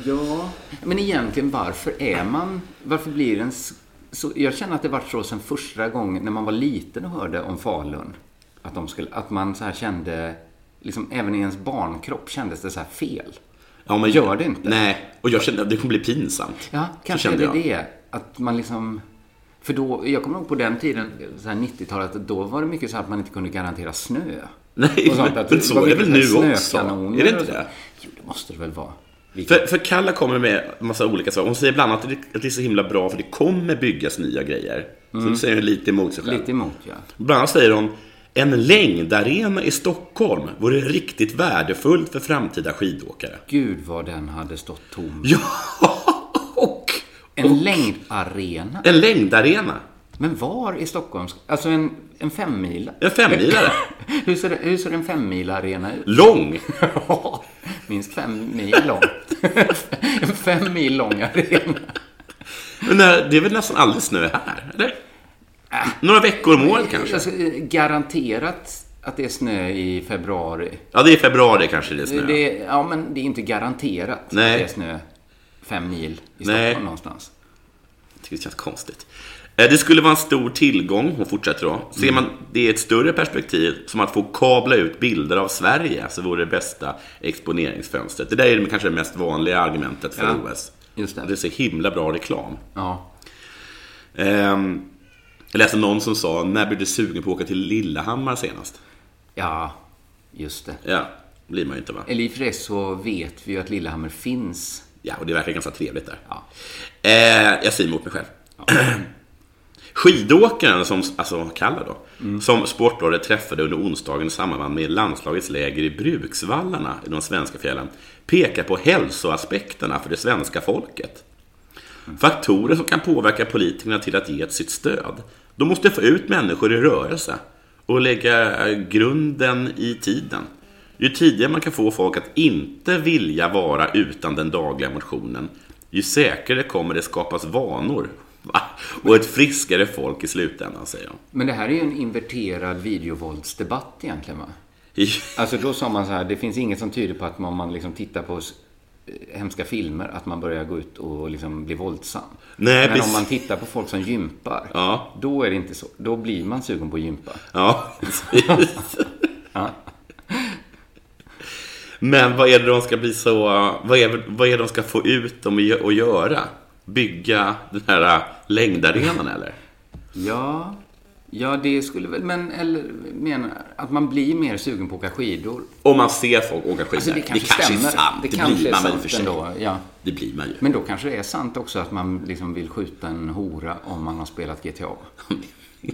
Speaker 1: Ja, men egentligen varför är man... Varför blir den... s- Så, jag känner att det varit så sen första gången när man var liten och hörde om Falun. Att, de skulle, att man så här kände... Liksom, även i ens barnkropp kändes det så här fel.
Speaker 3: Ja, men
Speaker 1: Gör det inte.
Speaker 3: Nej, och jag kände att det kommer bli pinsamt.
Speaker 1: Ja,
Speaker 3: Så
Speaker 1: kanske är
Speaker 3: kände
Speaker 1: det
Speaker 3: jag.
Speaker 1: det. Att man liksom... För då, jag kommer ihåg på den tiden, så här 90-talet, att då var det mycket så här att man inte kunde garantera snö.
Speaker 3: Nej,
Speaker 1: Och sånt,
Speaker 3: men-
Speaker 1: att
Speaker 3: (laughs) men
Speaker 1: det
Speaker 3: så
Speaker 1: var
Speaker 3: är det
Speaker 1: mycket
Speaker 3: väl
Speaker 1: så här
Speaker 3: nu också?
Speaker 1: snökanoner
Speaker 3: Är det inte
Speaker 1: och så.
Speaker 3: det?
Speaker 1: Jo, det måste det väl vara. Vilket,
Speaker 3: För, för Kalla kommer med massa olika saker. Hon säger bland annat att det- att det är så himla bra för det kommer byggas nya grejer. Så det säger hon lite emot sig själv.
Speaker 1: Mm. lite emot, ja.
Speaker 3: Bland annat säger hon en längdarena i Stockholm vore riktigt värdefullt för framtida skidåkare.
Speaker 1: Gud vad den hade stått tom.
Speaker 3: (laughs) Ja, och
Speaker 1: En längdarena.
Speaker 3: en längdarena.
Speaker 1: Men var i Stockholm? ska- Alltså en, en femmila?
Speaker 3: En femmilare.
Speaker 1: hur, ser, hur ser en femmilarena ut? (laughs)
Speaker 3: Lång.
Speaker 1: Minst fem mil lång. (laughs) en fem mil lång arena.
Speaker 3: Men det det är väl nästan aldrig snö här, eller? Några veckor om året kanske?
Speaker 1: Alltså, eh, garanterat att det är snö i februari.
Speaker 3: Ja, det är i februari kanske det är snö.
Speaker 1: Det, ja, men det är inte garanterat
Speaker 3: Nej.
Speaker 1: att det är snö fem mil i Stockholm
Speaker 3: Nej.
Speaker 1: någonstans.
Speaker 3: tycker det känns konstigt. Eh, Det skulle vara en stor tillgång, hon fortsätter då. Ser man det i ett större perspektiv, som att få kabla ut bilder av Sverige, så vore det bästa exponeringsfönstret. Det där är det kanske det mest vanliga argumentet för
Speaker 1: Ja,
Speaker 3: OS.
Speaker 1: just det.
Speaker 3: Att det är så himla bra reklam.
Speaker 1: Ja.
Speaker 3: Ehm, Jag läste någon som sa, när blev du sugen på att åka till Lillehammar senast?
Speaker 1: ja, just det.
Speaker 3: Ja, blir man ju inte va?
Speaker 1: Eller i och för sig så vet vi ju att Lillehammer finns.
Speaker 3: Ja, och det verkar ganska trevligt där.
Speaker 1: Ja.
Speaker 3: Eh, jag säger emot mig själv. (clears throat) Skidåkaren, som, alltså Kalle då, som Sportbladet träffade under onsdagen i samband med landslagets läger i Bruksvallarna i de svenska fjällen, pekar på hälsoaspekterna för det svenska folket. Faktorer som kan påverka politikerna till att ge sitt stöd. De måste få ut människor i rörelse och lägga eh, grunden i tiden. Ju tidigare man kan få folk att inte vilja vara utan den dagliga motionen, ju säkrare kommer det skapas vanor va? och ett friskare folk i slutändan, säger (laughs) jag.
Speaker 1: Men det här är ju en inverterad videovåldsdebatt egentligen va? Alltså då sa man så här, det finns inget som tyder på att man- om man liksom tittar på s- eh, hemska filmer att man börjar gå ut och liksom bli våldsam.
Speaker 3: Nej,
Speaker 1: Men
Speaker 3: precis.
Speaker 1: om man tittar på folk som gympar,
Speaker 3: Ja.
Speaker 1: då är det inte så. Då blir man sugen på att gympa.
Speaker 3: Ja, precis. Men vad är det de ska bli så... Vad är, vad är det de ska få ut dem i- att göra? Bygga den här äh, längdarenan eller?
Speaker 1: Ja, ja det skulle väl, men eller menar att man blir mer sugen på att åka skidor.
Speaker 3: Om man ser folk åka skidor.
Speaker 1: Alltså det kanske, stämmer.
Speaker 3: är sant. Det,
Speaker 1: kanske
Speaker 3: blir
Speaker 1: är
Speaker 3: man väl
Speaker 1: sant
Speaker 3: i och för sig.
Speaker 1: ändå. Mm. Ja.
Speaker 3: Det blir man ju.
Speaker 1: Men då kanske det är sant också att man liksom vill skjuta en hora om man har spelat GTA. (laughs)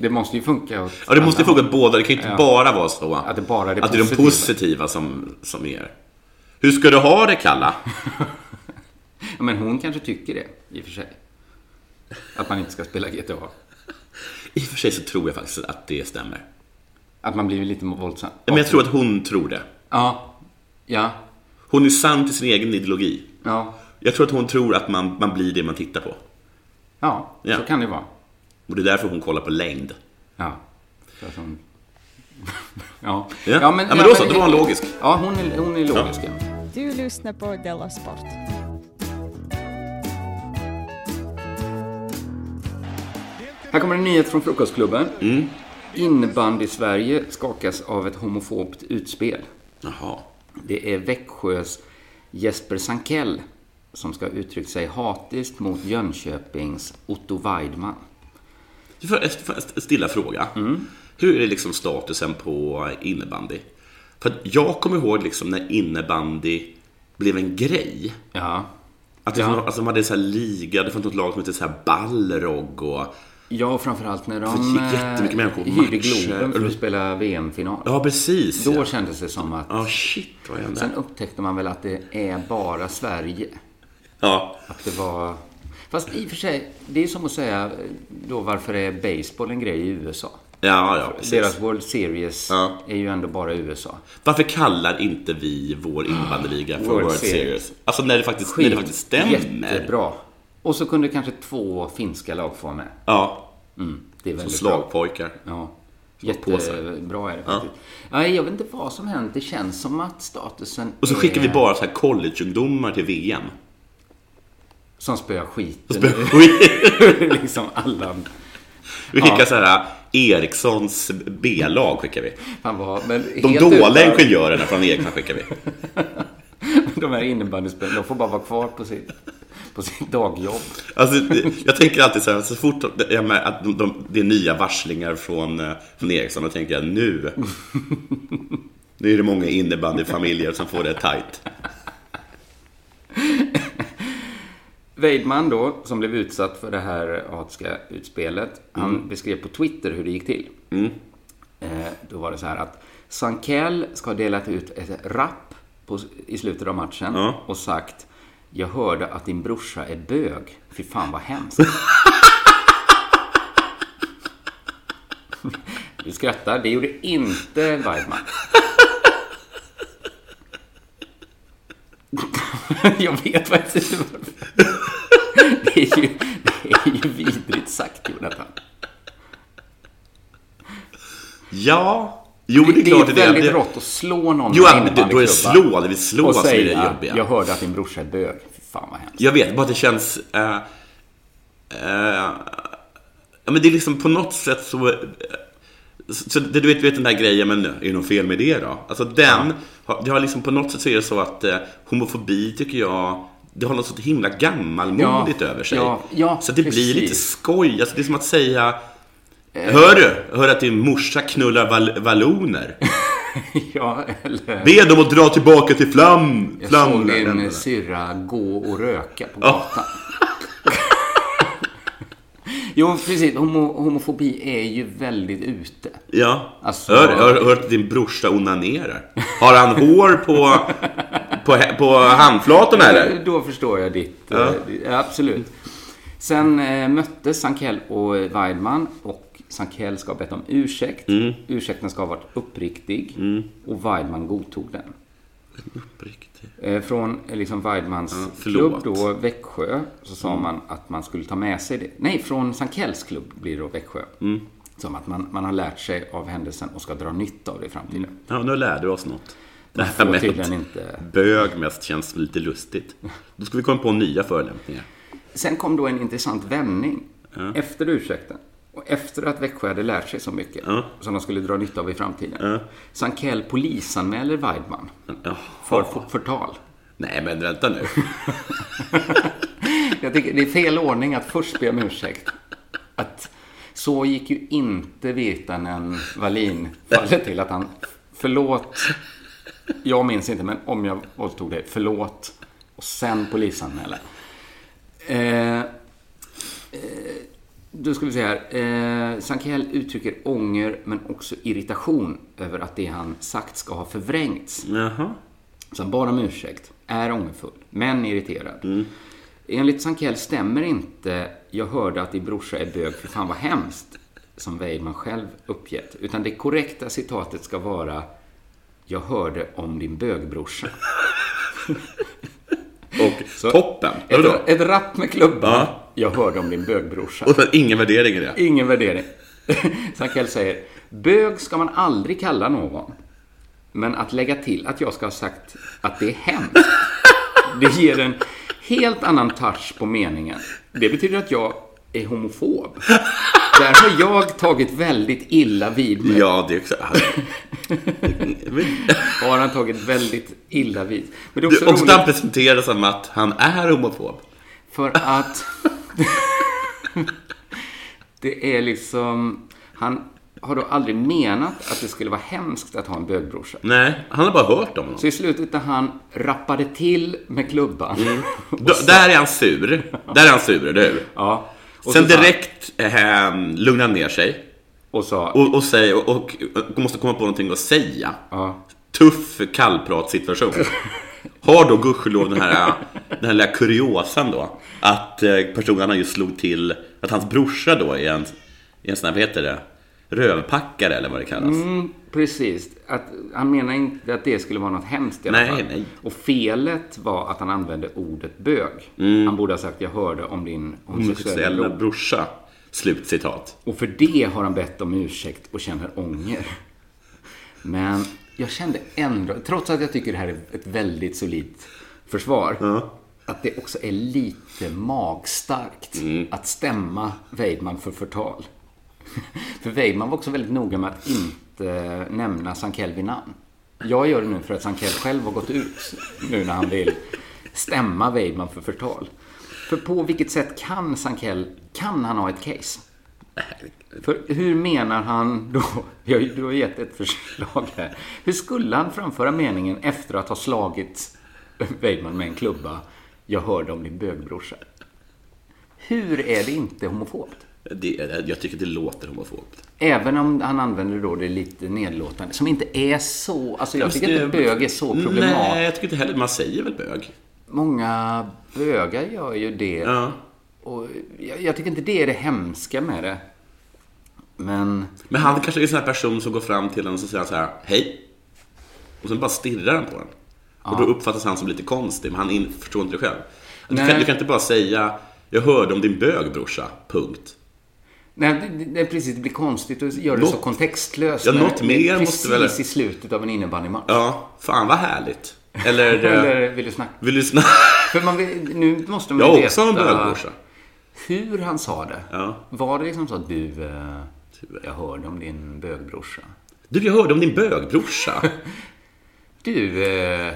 Speaker 1: Det måste ju funka åt
Speaker 3: Ja, det måste ju
Speaker 1: alla
Speaker 3: funka båda. Det kan ju inte bara vara så
Speaker 1: Att det bara är det
Speaker 3: att är de
Speaker 1: positiva.
Speaker 3: positiva som, som är. Hur ska du ha det, Kalla?
Speaker 1: Ja, men hon kanske tycker det, i och för sig. Att man inte ska spela GTA.
Speaker 3: I och för sig så tror jag faktiskt att det stämmer.
Speaker 1: Att man blir lite våldsam.
Speaker 3: Men jag tror att hon tror det.
Speaker 1: Ja. Ja.
Speaker 3: Hon är sann till sin egen ideologi.
Speaker 1: Ja.
Speaker 3: Jag tror att hon tror att man, man blir det man tittar på.
Speaker 1: Ja,
Speaker 3: Ja.
Speaker 1: så kan det vara.
Speaker 3: Och det är därför hon kollar på längd.
Speaker 1: Ja. För att hon... (laughs) ja.
Speaker 3: Ja. Ja, men då så, då var hon logisk.
Speaker 1: Ja, hon är, hon är logisk. Ja.
Speaker 2: Du lyssnar på Della Sport.
Speaker 4: Helt
Speaker 1: Här kommer en nyhet från Frukostklubben.
Speaker 3: Mm.
Speaker 1: Innebandy-Sverige skakas av ett homofobt utspel.
Speaker 3: Jaha.
Speaker 1: Det är Växjös Jesper Sankell som ska ha uttryckt sig hatiskt mot Jönköpings Otto Weidman.
Speaker 3: Jag får en- får en stilla fråga. Hur är liksom statusen på innebandy? För att jag kommer ihåg liksom när innebandy blev en grej.
Speaker 1: Ja.
Speaker 3: Att det fanns- alltså de hade så här liga, det fanns något lag som hette så här Balrog och...
Speaker 1: Ja, och framförallt när de
Speaker 3: Det gick
Speaker 1: eh,
Speaker 3: jättemycket människor på
Speaker 1: hyrde
Speaker 3: matcher.
Speaker 1: Globen för att spela VM-final.
Speaker 3: Ja, precis.
Speaker 1: Då
Speaker 3: ja.
Speaker 1: kändes det som att...
Speaker 3: Ja, shit vad hände?
Speaker 1: Sen upptäckte man väl att det är bara Sverige.
Speaker 3: Ja.
Speaker 1: Att det var... Fast i och för sig, det är som att säga eh, då varför är baseball en grej i USA?
Speaker 3: Ja, ja, precis.
Speaker 1: Deras World Series
Speaker 3: Ja.
Speaker 1: är ju ändå bara USA.
Speaker 3: Varför kallar inte vi vår innebandyliga för
Speaker 1: World
Speaker 3: World, Series?
Speaker 1: Series?
Speaker 3: Alltså när det faktiskt, när det faktiskt stämmer.
Speaker 1: Jättebra. Och så kunde kanske två finska lag få vara med.
Speaker 3: Ja,
Speaker 1: Mm, det är väldigt bra.
Speaker 3: slagpojkar.
Speaker 1: Ja.
Speaker 3: Slagpåsar.
Speaker 1: Jättebra är det faktiskt. Nej, jag vet inte vad som hänt. Det känns som att statusen
Speaker 3: Och så
Speaker 1: är...
Speaker 3: skickar vi bara så här collegeungdomar till
Speaker 1: (laughs)
Speaker 3: VM.
Speaker 1: Som spöar skiten
Speaker 3: Vi
Speaker 1: ur (laughs) liksom alla.
Speaker 3: skickar så här Erikssons B-lag skickar vi.
Speaker 1: Fan vad, men
Speaker 3: De
Speaker 1: helt
Speaker 3: dåliga
Speaker 1: utan-
Speaker 3: ingenjörerna från Eriksson skickar vi.
Speaker 1: De här innebandyspelarna, de får bara vara kvar på sitt, på sitt dagjobb.
Speaker 3: Alltså, det- jag tänker alltid så här, så fort de- jag mär- att de, de, det är nya varslingar från, eh, från Eriksson, då tänker
Speaker 1: (laughs)
Speaker 3: jag nu. Nu är det många innebandyfamiljer som får det tight.
Speaker 1: Weidman då, som blev utsatt för det här hatiska utspelet, han beskrev på Twitter hur det gick till. Eh, då var det så här att Sankell ska ha delat ut ett rapp på, i slutet av matchen
Speaker 3: Ja.
Speaker 1: och sagt Jag hörde att din brorsa är bög. Fy fan vad hemskt. (laughs) du skrattar, det gjorde inte Weidman. (laughs) Jag vet faktiskt inte varför. (laughs) Det är ju, det är ju vidrigt sagt, Jonathan.
Speaker 3: Ja, jo det är
Speaker 1: ju
Speaker 3: klart det är
Speaker 1: väldigt
Speaker 3: det.
Speaker 1: rått att slå någon
Speaker 3: Jo,
Speaker 1: med
Speaker 3: men då- då är det
Speaker 1: innebandyklubba
Speaker 3: slå, det vill slå
Speaker 1: och
Speaker 3: som är det
Speaker 1: säga
Speaker 3: jobbiga.
Speaker 1: jag hörde att din brorsa är bög. Fy fan vad hemskt. (laughs)
Speaker 3: Jag vet, bara att det känns... Eh, eh, ja, men det är liksom på något sätt så... eh, så så det, du, vet, du vet den där grejen, men är det något fel med det då? Alltså den, har, det har liksom på något sätt så är det så att eh, homofobi tycker jag, det har något så himla gammalmodigt
Speaker 1: Ja,
Speaker 3: över sig.
Speaker 1: ja, ja,
Speaker 3: så att det blir
Speaker 1: precis. Eh.
Speaker 3: lite skoj, alltså det är som att säga Hör du? Hör att din morsa knullar val- valloner?
Speaker 1: ja, eller...
Speaker 3: Be dem att dra tillbaka till flam...
Speaker 1: Jag såg din eh,
Speaker 3: Flamländerna.
Speaker 1: syrra gå och röka på gatan. (laughs) jo, precis. Homo, homofobi är ju väldigt ute.
Speaker 3: Ja.
Speaker 1: Alltså-
Speaker 3: hör, hör, hör att din brorsa onanerar. Har han hår på, på, hä- på handflatorna eller?
Speaker 1: Då förstår jag ditt... eh, ditt- Ja. absolut. Sen eh, möttes Sankell och Weidman och Sankell ska ha bett om ursäkt. Ursäkten ska ha varit uppriktig och Weidman godtog den. Eh, Från eh, liksom Weidmans klubb
Speaker 3: förlåt.
Speaker 1: då, Växjö, så sa man att man skulle ta med sig det. Nej, från Sankells klubb blir det då Växjö. Som att man, man har lärt sig av händelsen och ska dra nytta av det i framtiden.
Speaker 3: Ja, nu lärde du oss något. Det
Speaker 1: får
Speaker 3: (laughs) här med
Speaker 1: tydligen
Speaker 3: att
Speaker 1: inte-
Speaker 3: bög mest känns lite lustigt. Då ska vi komma på nya förolämpningar.
Speaker 1: Sen kom då en intressant vändning efter ursäkten. Och efter att Växjö hade lärt sig så mycket som de skulle dra nytta av i framtiden. Sankell polisanmäler Weidman
Speaker 3: Ja.
Speaker 1: för f- förtal.
Speaker 3: Nej, men
Speaker 1: (laughs)
Speaker 3: vänta nu.
Speaker 1: Jag tycker det är fel ordning att först be om ursäkt. Att så gick ju inte Virtanen Wallin fallet till att han förlåt, jag minns inte, men om jag våldtog dig, förlåt. Och sen polisanmäla. Eh, eh, då ska vi se här. Eh, Sankell uttrycker ånger men också irritation över att det han sagt ska ha förvrängts.
Speaker 3: Jaha.
Speaker 1: Så han bad om ursäkt, är ångerfull, men irriterad.
Speaker 3: Mm.
Speaker 1: Enligt Sankell stämmer inte “Jag hörde att din brorsa är bög, för fan vad hemskt” som Weidman själv uppgett. Utan det korrekta citatet ska vara “Jag hörde om din bögbrorsa”.
Speaker 3: (laughs) Och
Speaker 1: Så-
Speaker 3: toppen. Vadå?
Speaker 1: Ett, ett rapp med klubban.
Speaker 3: Ja.
Speaker 1: “Jag hörde om din bögbrorsa”.
Speaker 3: Och sen ingen värdering i det.
Speaker 1: Ingen värdering. (laughs) Sankell säger “Bög ska man aldrig kalla någon. Men att lägga till att jag ska ha sagt att det är hemskt, (laughs) det ger en helt annan touch på meningen. Det betyder att jag är homofob. Där har jag tagit väldigt illa vid mig. (laughs)
Speaker 3: Ja, det är också...
Speaker 1: Har han tagit väldigt illa vid. Men det är
Speaker 3: Du,
Speaker 1: också
Speaker 3: också han
Speaker 1: roligt
Speaker 3: presenterar som att han är homofob.
Speaker 1: för att (laughs) det är liksom... Han har då aldrig menat att det skulle vara hemskt att ha en bögbrorsa.
Speaker 3: Nej, han har bara hört om honom.
Speaker 1: Så i slutet när han rappade till med klubban.
Speaker 3: Mm. Då, där är han sur. Där är han sur, eller hur?
Speaker 1: (laughs) Ja. Och
Speaker 3: Sen
Speaker 1: så sa-
Speaker 3: direkt eh, lugnar han ner sig
Speaker 1: Och sa...
Speaker 3: och, och, säger, och, och, måste komma på någonting att säga.
Speaker 1: Ja.
Speaker 3: Tuff kallpratssituation. Har då gudskelov den här, den här lilla kuriosan då, att eh, personen han just slog till, att hans brorsa då är en, är en sån här, vad heter det, rövpackare eller vad det kallas.
Speaker 1: Mm, precis. Att, han menar inte att det skulle vara något hemskt i alla
Speaker 3: Nej,
Speaker 1: fall.
Speaker 3: nej.
Speaker 1: Och felet var att han använde ordet bög. Han borde ha sagt jag hörde om din homosexuella
Speaker 3: Mm. Homosexuella
Speaker 1: bror.
Speaker 3: brorsa. Slutcitat.
Speaker 1: Och för det har han bett om ursäkt och känner ånger. Men jag kände ändå, trots att jag tycker det här är ett väldigt solidt försvar, att det också är lite magstarkt att stämma Weidman för förtal. (laughs) För Weidman var också väldigt noga med att inte nämna Sankel vid namn. Jag gör det nu för att Sankel själv har gått ut nu när han vill stämma Weidman för förtal. För på vilket sätt kan Sankel, kan han ha ett case? För hur menar han då? (laughs) Jag, du har gett ett förslag här. Hur skulle han framföra meningen efter att ha slagit Weidman med en klubba? Jag hörde om din bögbrorsa. Hur är det inte homofobt?
Speaker 3: Det, jag tycker det låter homofobt.
Speaker 1: Även om han använder då det lite nedlåtande, som inte är så... Alltså jag tycker inte bög är så
Speaker 3: Nej,
Speaker 1: problematiskt.
Speaker 3: jag tycker inte heller. Man säger väl bög?
Speaker 1: Många bögar gör ju det.
Speaker 3: Ja.
Speaker 1: Och jag, jag tycker inte det är det hemska med det. Men...
Speaker 3: Men han kanske är en sån här person som går fram till en och så säger han så här, hej. Och sen bara stirrar han på den. Och då uppfattas han som lite konstig, men han in, förstår inte det själv. Du
Speaker 1: Nej.
Speaker 3: kan, du kan inte bara säga, jag hörde om din bög brorsa, punkt.
Speaker 1: Nej, det- det, det, precis. Det blir konstigt att göra det så
Speaker 3: Något-
Speaker 1: kontextlöst.
Speaker 3: Ja,
Speaker 1: när
Speaker 3: något
Speaker 1: det är
Speaker 3: mer
Speaker 1: precis
Speaker 3: måste väl-
Speaker 1: i slutet av en innebandymatch.
Speaker 3: Ja, fan vad härligt. Eller, eh,
Speaker 1: Eller vill du snacka?
Speaker 3: vill
Speaker 1: (laughs)
Speaker 3: du lyssna?
Speaker 1: För man vill, nu måste man
Speaker 3: Jag
Speaker 1: ju
Speaker 3: har
Speaker 1: veta
Speaker 3: också en bögbrorsa.
Speaker 1: hur han sa det.
Speaker 3: Ja.
Speaker 1: Var det liksom så att du, eh, jag hörde om din bögbrorsa.
Speaker 3: Du, jag hörde om din bögbrorsa.
Speaker 1: Du, eh,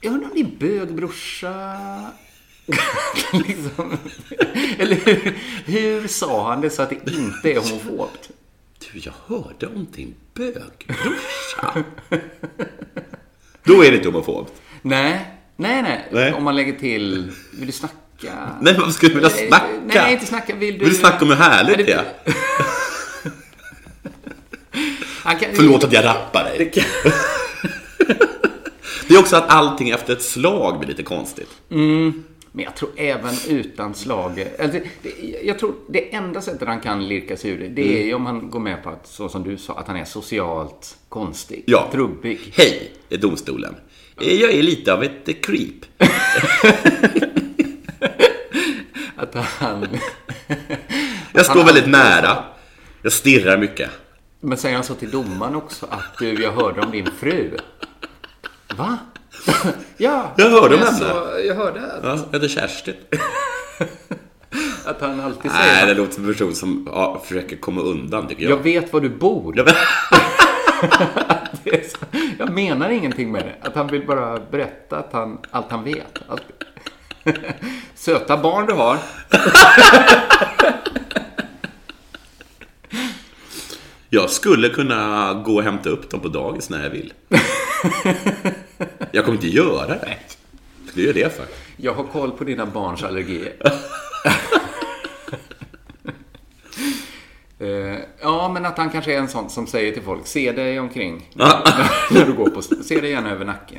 Speaker 1: jag hörde om din bögbrorsa. (laughs) liksom. Eller hur, hur sa han det så att det inte är homofobt?
Speaker 3: (laughs) Du, jag hörde om din
Speaker 1: (laughs)
Speaker 3: bögbrorsa. Då är det inte homofobt.
Speaker 1: Nej, nej, nej.
Speaker 3: Nej.
Speaker 1: Om man lägger till, vill du snacka?
Speaker 3: Nej, men varför skulle du vilja
Speaker 1: Nej,
Speaker 3: snacka?
Speaker 1: Nej, inte snacka. Vill du...
Speaker 3: Vill du snacka om hur härligt
Speaker 1: Nej,
Speaker 3: det
Speaker 1: det-
Speaker 3: är?
Speaker 1: Han kan...
Speaker 3: Förlåt att jag rappar dig. Det, (laughs) är också att allting efter ett slag blir lite konstigt.
Speaker 1: Men jag tror även utan slag... Alltså, det, jag tror det enda sättet han kan lirka sig ur det, det
Speaker 3: Mm.
Speaker 1: är ju om han går med på att, så som du sa, att han är socialt konstig.
Speaker 3: Ja.
Speaker 1: Trubbig.
Speaker 3: Hej, är domstolen. Eh, Jag är lite av ett eh, creep.
Speaker 1: Att han...
Speaker 3: Jag står väldigt nära. Jag stirrar mycket.
Speaker 1: Men säger han så till domaren också att du, jag hörde om din fru. Va? (laughs) ja.
Speaker 3: Jag hörde om
Speaker 1: jag
Speaker 3: henne.
Speaker 1: så- Jag hörde att,
Speaker 3: Ja, jag heter Kerstin.
Speaker 1: att han alltid säger
Speaker 3: (laughs) Nej, det låter som en person som ja, försöker komma undan, tycker jag.
Speaker 1: Jag vet var du bor.
Speaker 3: Jag vet.
Speaker 1: (laughs) Det är så- jag menar ingenting med det. Att han vill bara berätta att han, allt han vet. Allt. (laughs) Söta barn du har.
Speaker 3: Jag skulle kunna gå och hämta upp dem på dagis när jag (laughs) vill. Jag kommer inte göra det. Det gör det för.
Speaker 1: Jag har koll på dina barns
Speaker 3: (laughs)
Speaker 1: allergier. Eh, ja, men att han kanske är en sån som säger till folk, se dig
Speaker 3: (laughs)
Speaker 1: omkring när du går på stan. Se dig gärna över nacken.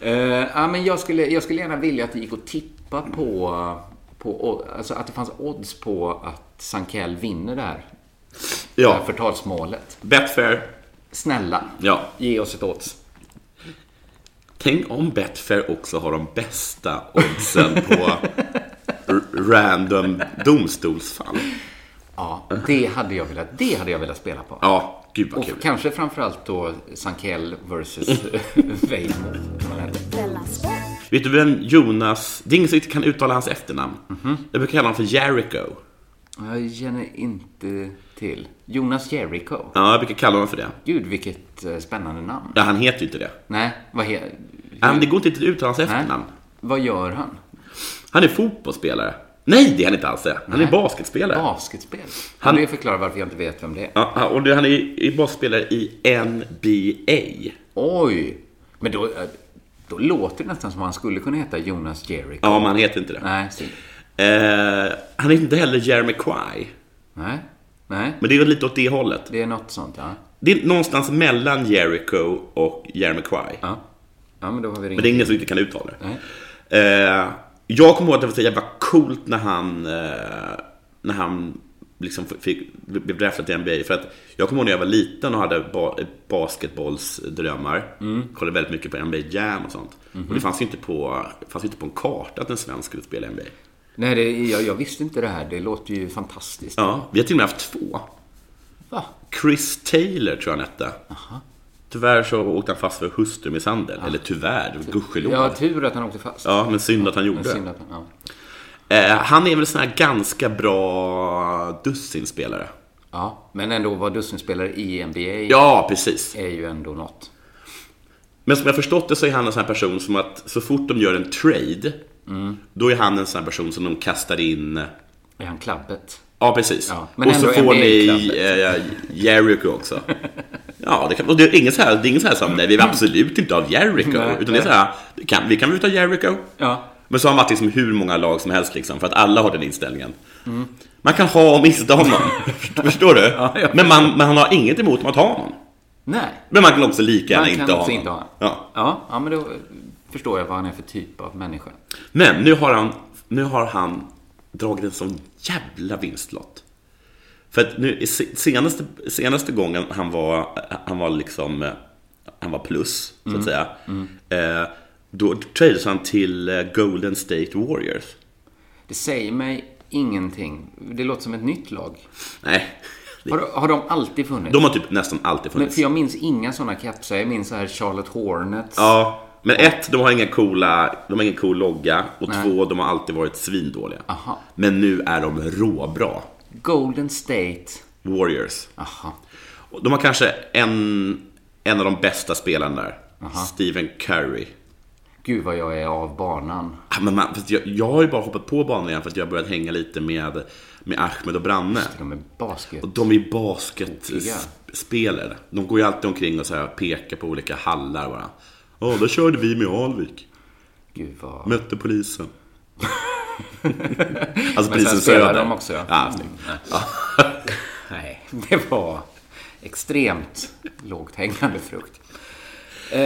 Speaker 1: Eh, ja, men jag, skulle, jag skulle gärna vilja att det gick att tippa på, på alltså att det fanns odds på att Sankell vinner det här det här
Speaker 3: Ja,
Speaker 1: förtalsmålet.
Speaker 3: Betfair.
Speaker 1: Snälla,
Speaker 3: Ja.
Speaker 1: ge oss ett odds.
Speaker 3: Tänk om Betfair också har de bästa oddsen på r- random domstolsfall.
Speaker 1: Ja, det hade jag velat, det hade jag velat spela på.
Speaker 3: Ja, gud vad
Speaker 1: Och
Speaker 3: kul.
Speaker 1: kanske
Speaker 3: (laughs)
Speaker 1: framförallt då Sankell versus Weimo.
Speaker 4: Della Sport!
Speaker 3: Vet du vem Jonas... Det är ingen som riktigt kan uttala hans efternamn.
Speaker 1: Mhm.
Speaker 3: Jag brukar kalla honom för Jericho.
Speaker 1: Jag känner inte till. Jonas Jericho.
Speaker 3: Ja, jag brukar kalla honom för det.
Speaker 1: Gud, vilket eh, spännande namn.
Speaker 3: Ja, han heter ju inte det.
Speaker 1: Nej, vad heter...
Speaker 3: Han, det går inte riktigt att uttala hans efternamn.
Speaker 1: Vad gör han?
Speaker 3: Han är fotbollsspelare. Nej, det är han inte alls. det. Han är
Speaker 1: Nej.
Speaker 3: basketspelare.
Speaker 1: Basketspel.
Speaker 3: Han-
Speaker 1: Han... Det förklarar varför jag inte vet vem det är.
Speaker 3: Ja, och nu- han är, är basketspelare i NBA.
Speaker 1: Oj! Men då, eh, då låter det nästan som han skulle kunna heta Jonas Jericho.
Speaker 3: Ja, men han heter inte det.
Speaker 1: Nej, synd.
Speaker 3: Eh, han heter inte heller Jeremy Quay.
Speaker 1: Nej, nej.
Speaker 3: Men det är väl lite åt det hållet.
Speaker 1: Det är något sånt, ja.
Speaker 3: Det är någonstans mellan Jericho och Jeremy Quay.
Speaker 1: Ja, ja men då har vi ringt.
Speaker 3: Men det är ingen som riktigt kan uttala det.
Speaker 1: Nej.
Speaker 3: Eh, jag kommer ihåg att det var så jävla coolt när han, eh, när han liksom f- fick, blev draftad till NBA. För att jag kommer ihåg när jag var liten och hade ba, basketbollsdrömmar. Kollade väldigt mycket på NBA Jam och sånt. Och det fanns ju inte på, fanns ju inte på en karta att en svensk skulle spela i NBA.
Speaker 1: Nej, det, jag, jag visste inte det här. Det låter ju fantastiskt.
Speaker 3: Ja, vi har till och med haft två.
Speaker 1: Va?
Speaker 3: Chris Taylor tror jag han hette. Tyvärr så åkte han fast för
Speaker 1: Ah.
Speaker 3: hustrumisshandel. Eller tyvärr, gudskelov.
Speaker 1: Jag har
Speaker 3: Ja,
Speaker 1: tur att han åkte fast.
Speaker 3: men synd att han gjorde
Speaker 1: Men
Speaker 3: det.
Speaker 1: synd att han, ja.
Speaker 3: Eh, han är väl en sån här ganska bra dussinspelare.
Speaker 1: ja, men ändå vara dussinspelare i NBA
Speaker 3: Ja, precis.
Speaker 1: är ju ändå något.
Speaker 3: Men som jag förstått det så är han en sån här person som att så fort de gör en trade,
Speaker 1: Mm.
Speaker 3: då är han en sån här person som de kastar in
Speaker 1: Är han klabbet?
Speaker 3: Ja, precis.
Speaker 1: Ja, men
Speaker 3: och så
Speaker 1: ändå
Speaker 3: får ni
Speaker 1: NBA-klabbet.
Speaker 3: eh,
Speaker 1: (laughs)
Speaker 3: Jericho också. Ja, det, kan, och det är ingen så här, det är ingen så här som, nej, vi vill absolut inte av Jericho.
Speaker 1: Nej,
Speaker 3: utan det är så här, vi kan, vi kan väl ta Jericho.
Speaker 1: Ja.
Speaker 3: Men så har man varit liksom hur många lag som helst, liksom, för att alla har den inställningen.
Speaker 1: Mm.
Speaker 3: Man kan ha och
Speaker 1: (laughs)
Speaker 3: mista honom. Förstår- (laughs) Förstår du?
Speaker 1: jag
Speaker 3: men, man, men han har inget emot att ha honom.
Speaker 1: Nej.
Speaker 3: Men man kan också lika gärna
Speaker 1: Man kan
Speaker 3: inte ha
Speaker 1: också
Speaker 3: honom.
Speaker 1: inte ha
Speaker 3: Ja.
Speaker 1: ja. Ja, men då förstår jag vad han är för typ av människa.
Speaker 3: Men nu har han, nu har han dragit en sån jävla vinstlott. För att nu, i se- senaste, senaste gången han var, han var liksom, eh, han var plus, så att
Speaker 1: Mm.
Speaker 3: säga. Eh, då trades han till eh, Golden State Warriors.
Speaker 1: Det säger mig ingenting. Det låter som ett nytt lag.
Speaker 3: Nej, (laughs)
Speaker 1: Har, har de alltid funnits?
Speaker 3: de har typ nästan alltid
Speaker 1: Men,
Speaker 3: funnits.
Speaker 1: för jag minns inga sådana kepsar. Jag minns så här Charlotte Hornets.
Speaker 3: Ja, men ett, de har ingen coola, de har ingen cool logga. Och
Speaker 1: Nej.
Speaker 3: två, de har alltid varit svindåliga.
Speaker 1: Aha.
Speaker 3: Men nu är de råbra.
Speaker 1: Golden State.
Speaker 3: Warriors.
Speaker 1: Aha.
Speaker 3: Och De har kanske en, en av de bästa spelarna där. Stephen Curry.
Speaker 1: Gud vad jag är av banan.
Speaker 3: Ah, Men man, fast jag, jag har ju bara hoppat på banan igen för att jag har börjat hänga lite med, med Ahmed och Branne.
Speaker 1: De är basket.
Speaker 3: Och de är ju
Speaker 1: Tokiga.
Speaker 3: basketspelare. De går ju alltid omkring och så här pekar på olika hallar bara. Ja, där körde vi med Alvik.
Speaker 1: Gud vad... (laughs)
Speaker 3: Mötte polisen. alltså
Speaker 1: Men sen
Speaker 3: polisen
Speaker 1: spelar
Speaker 3: söder.
Speaker 1: de också, ja.
Speaker 3: ja snyggt.
Speaker 1: Nej, (laughs) det var extremt lågt hängande frukt. Eh,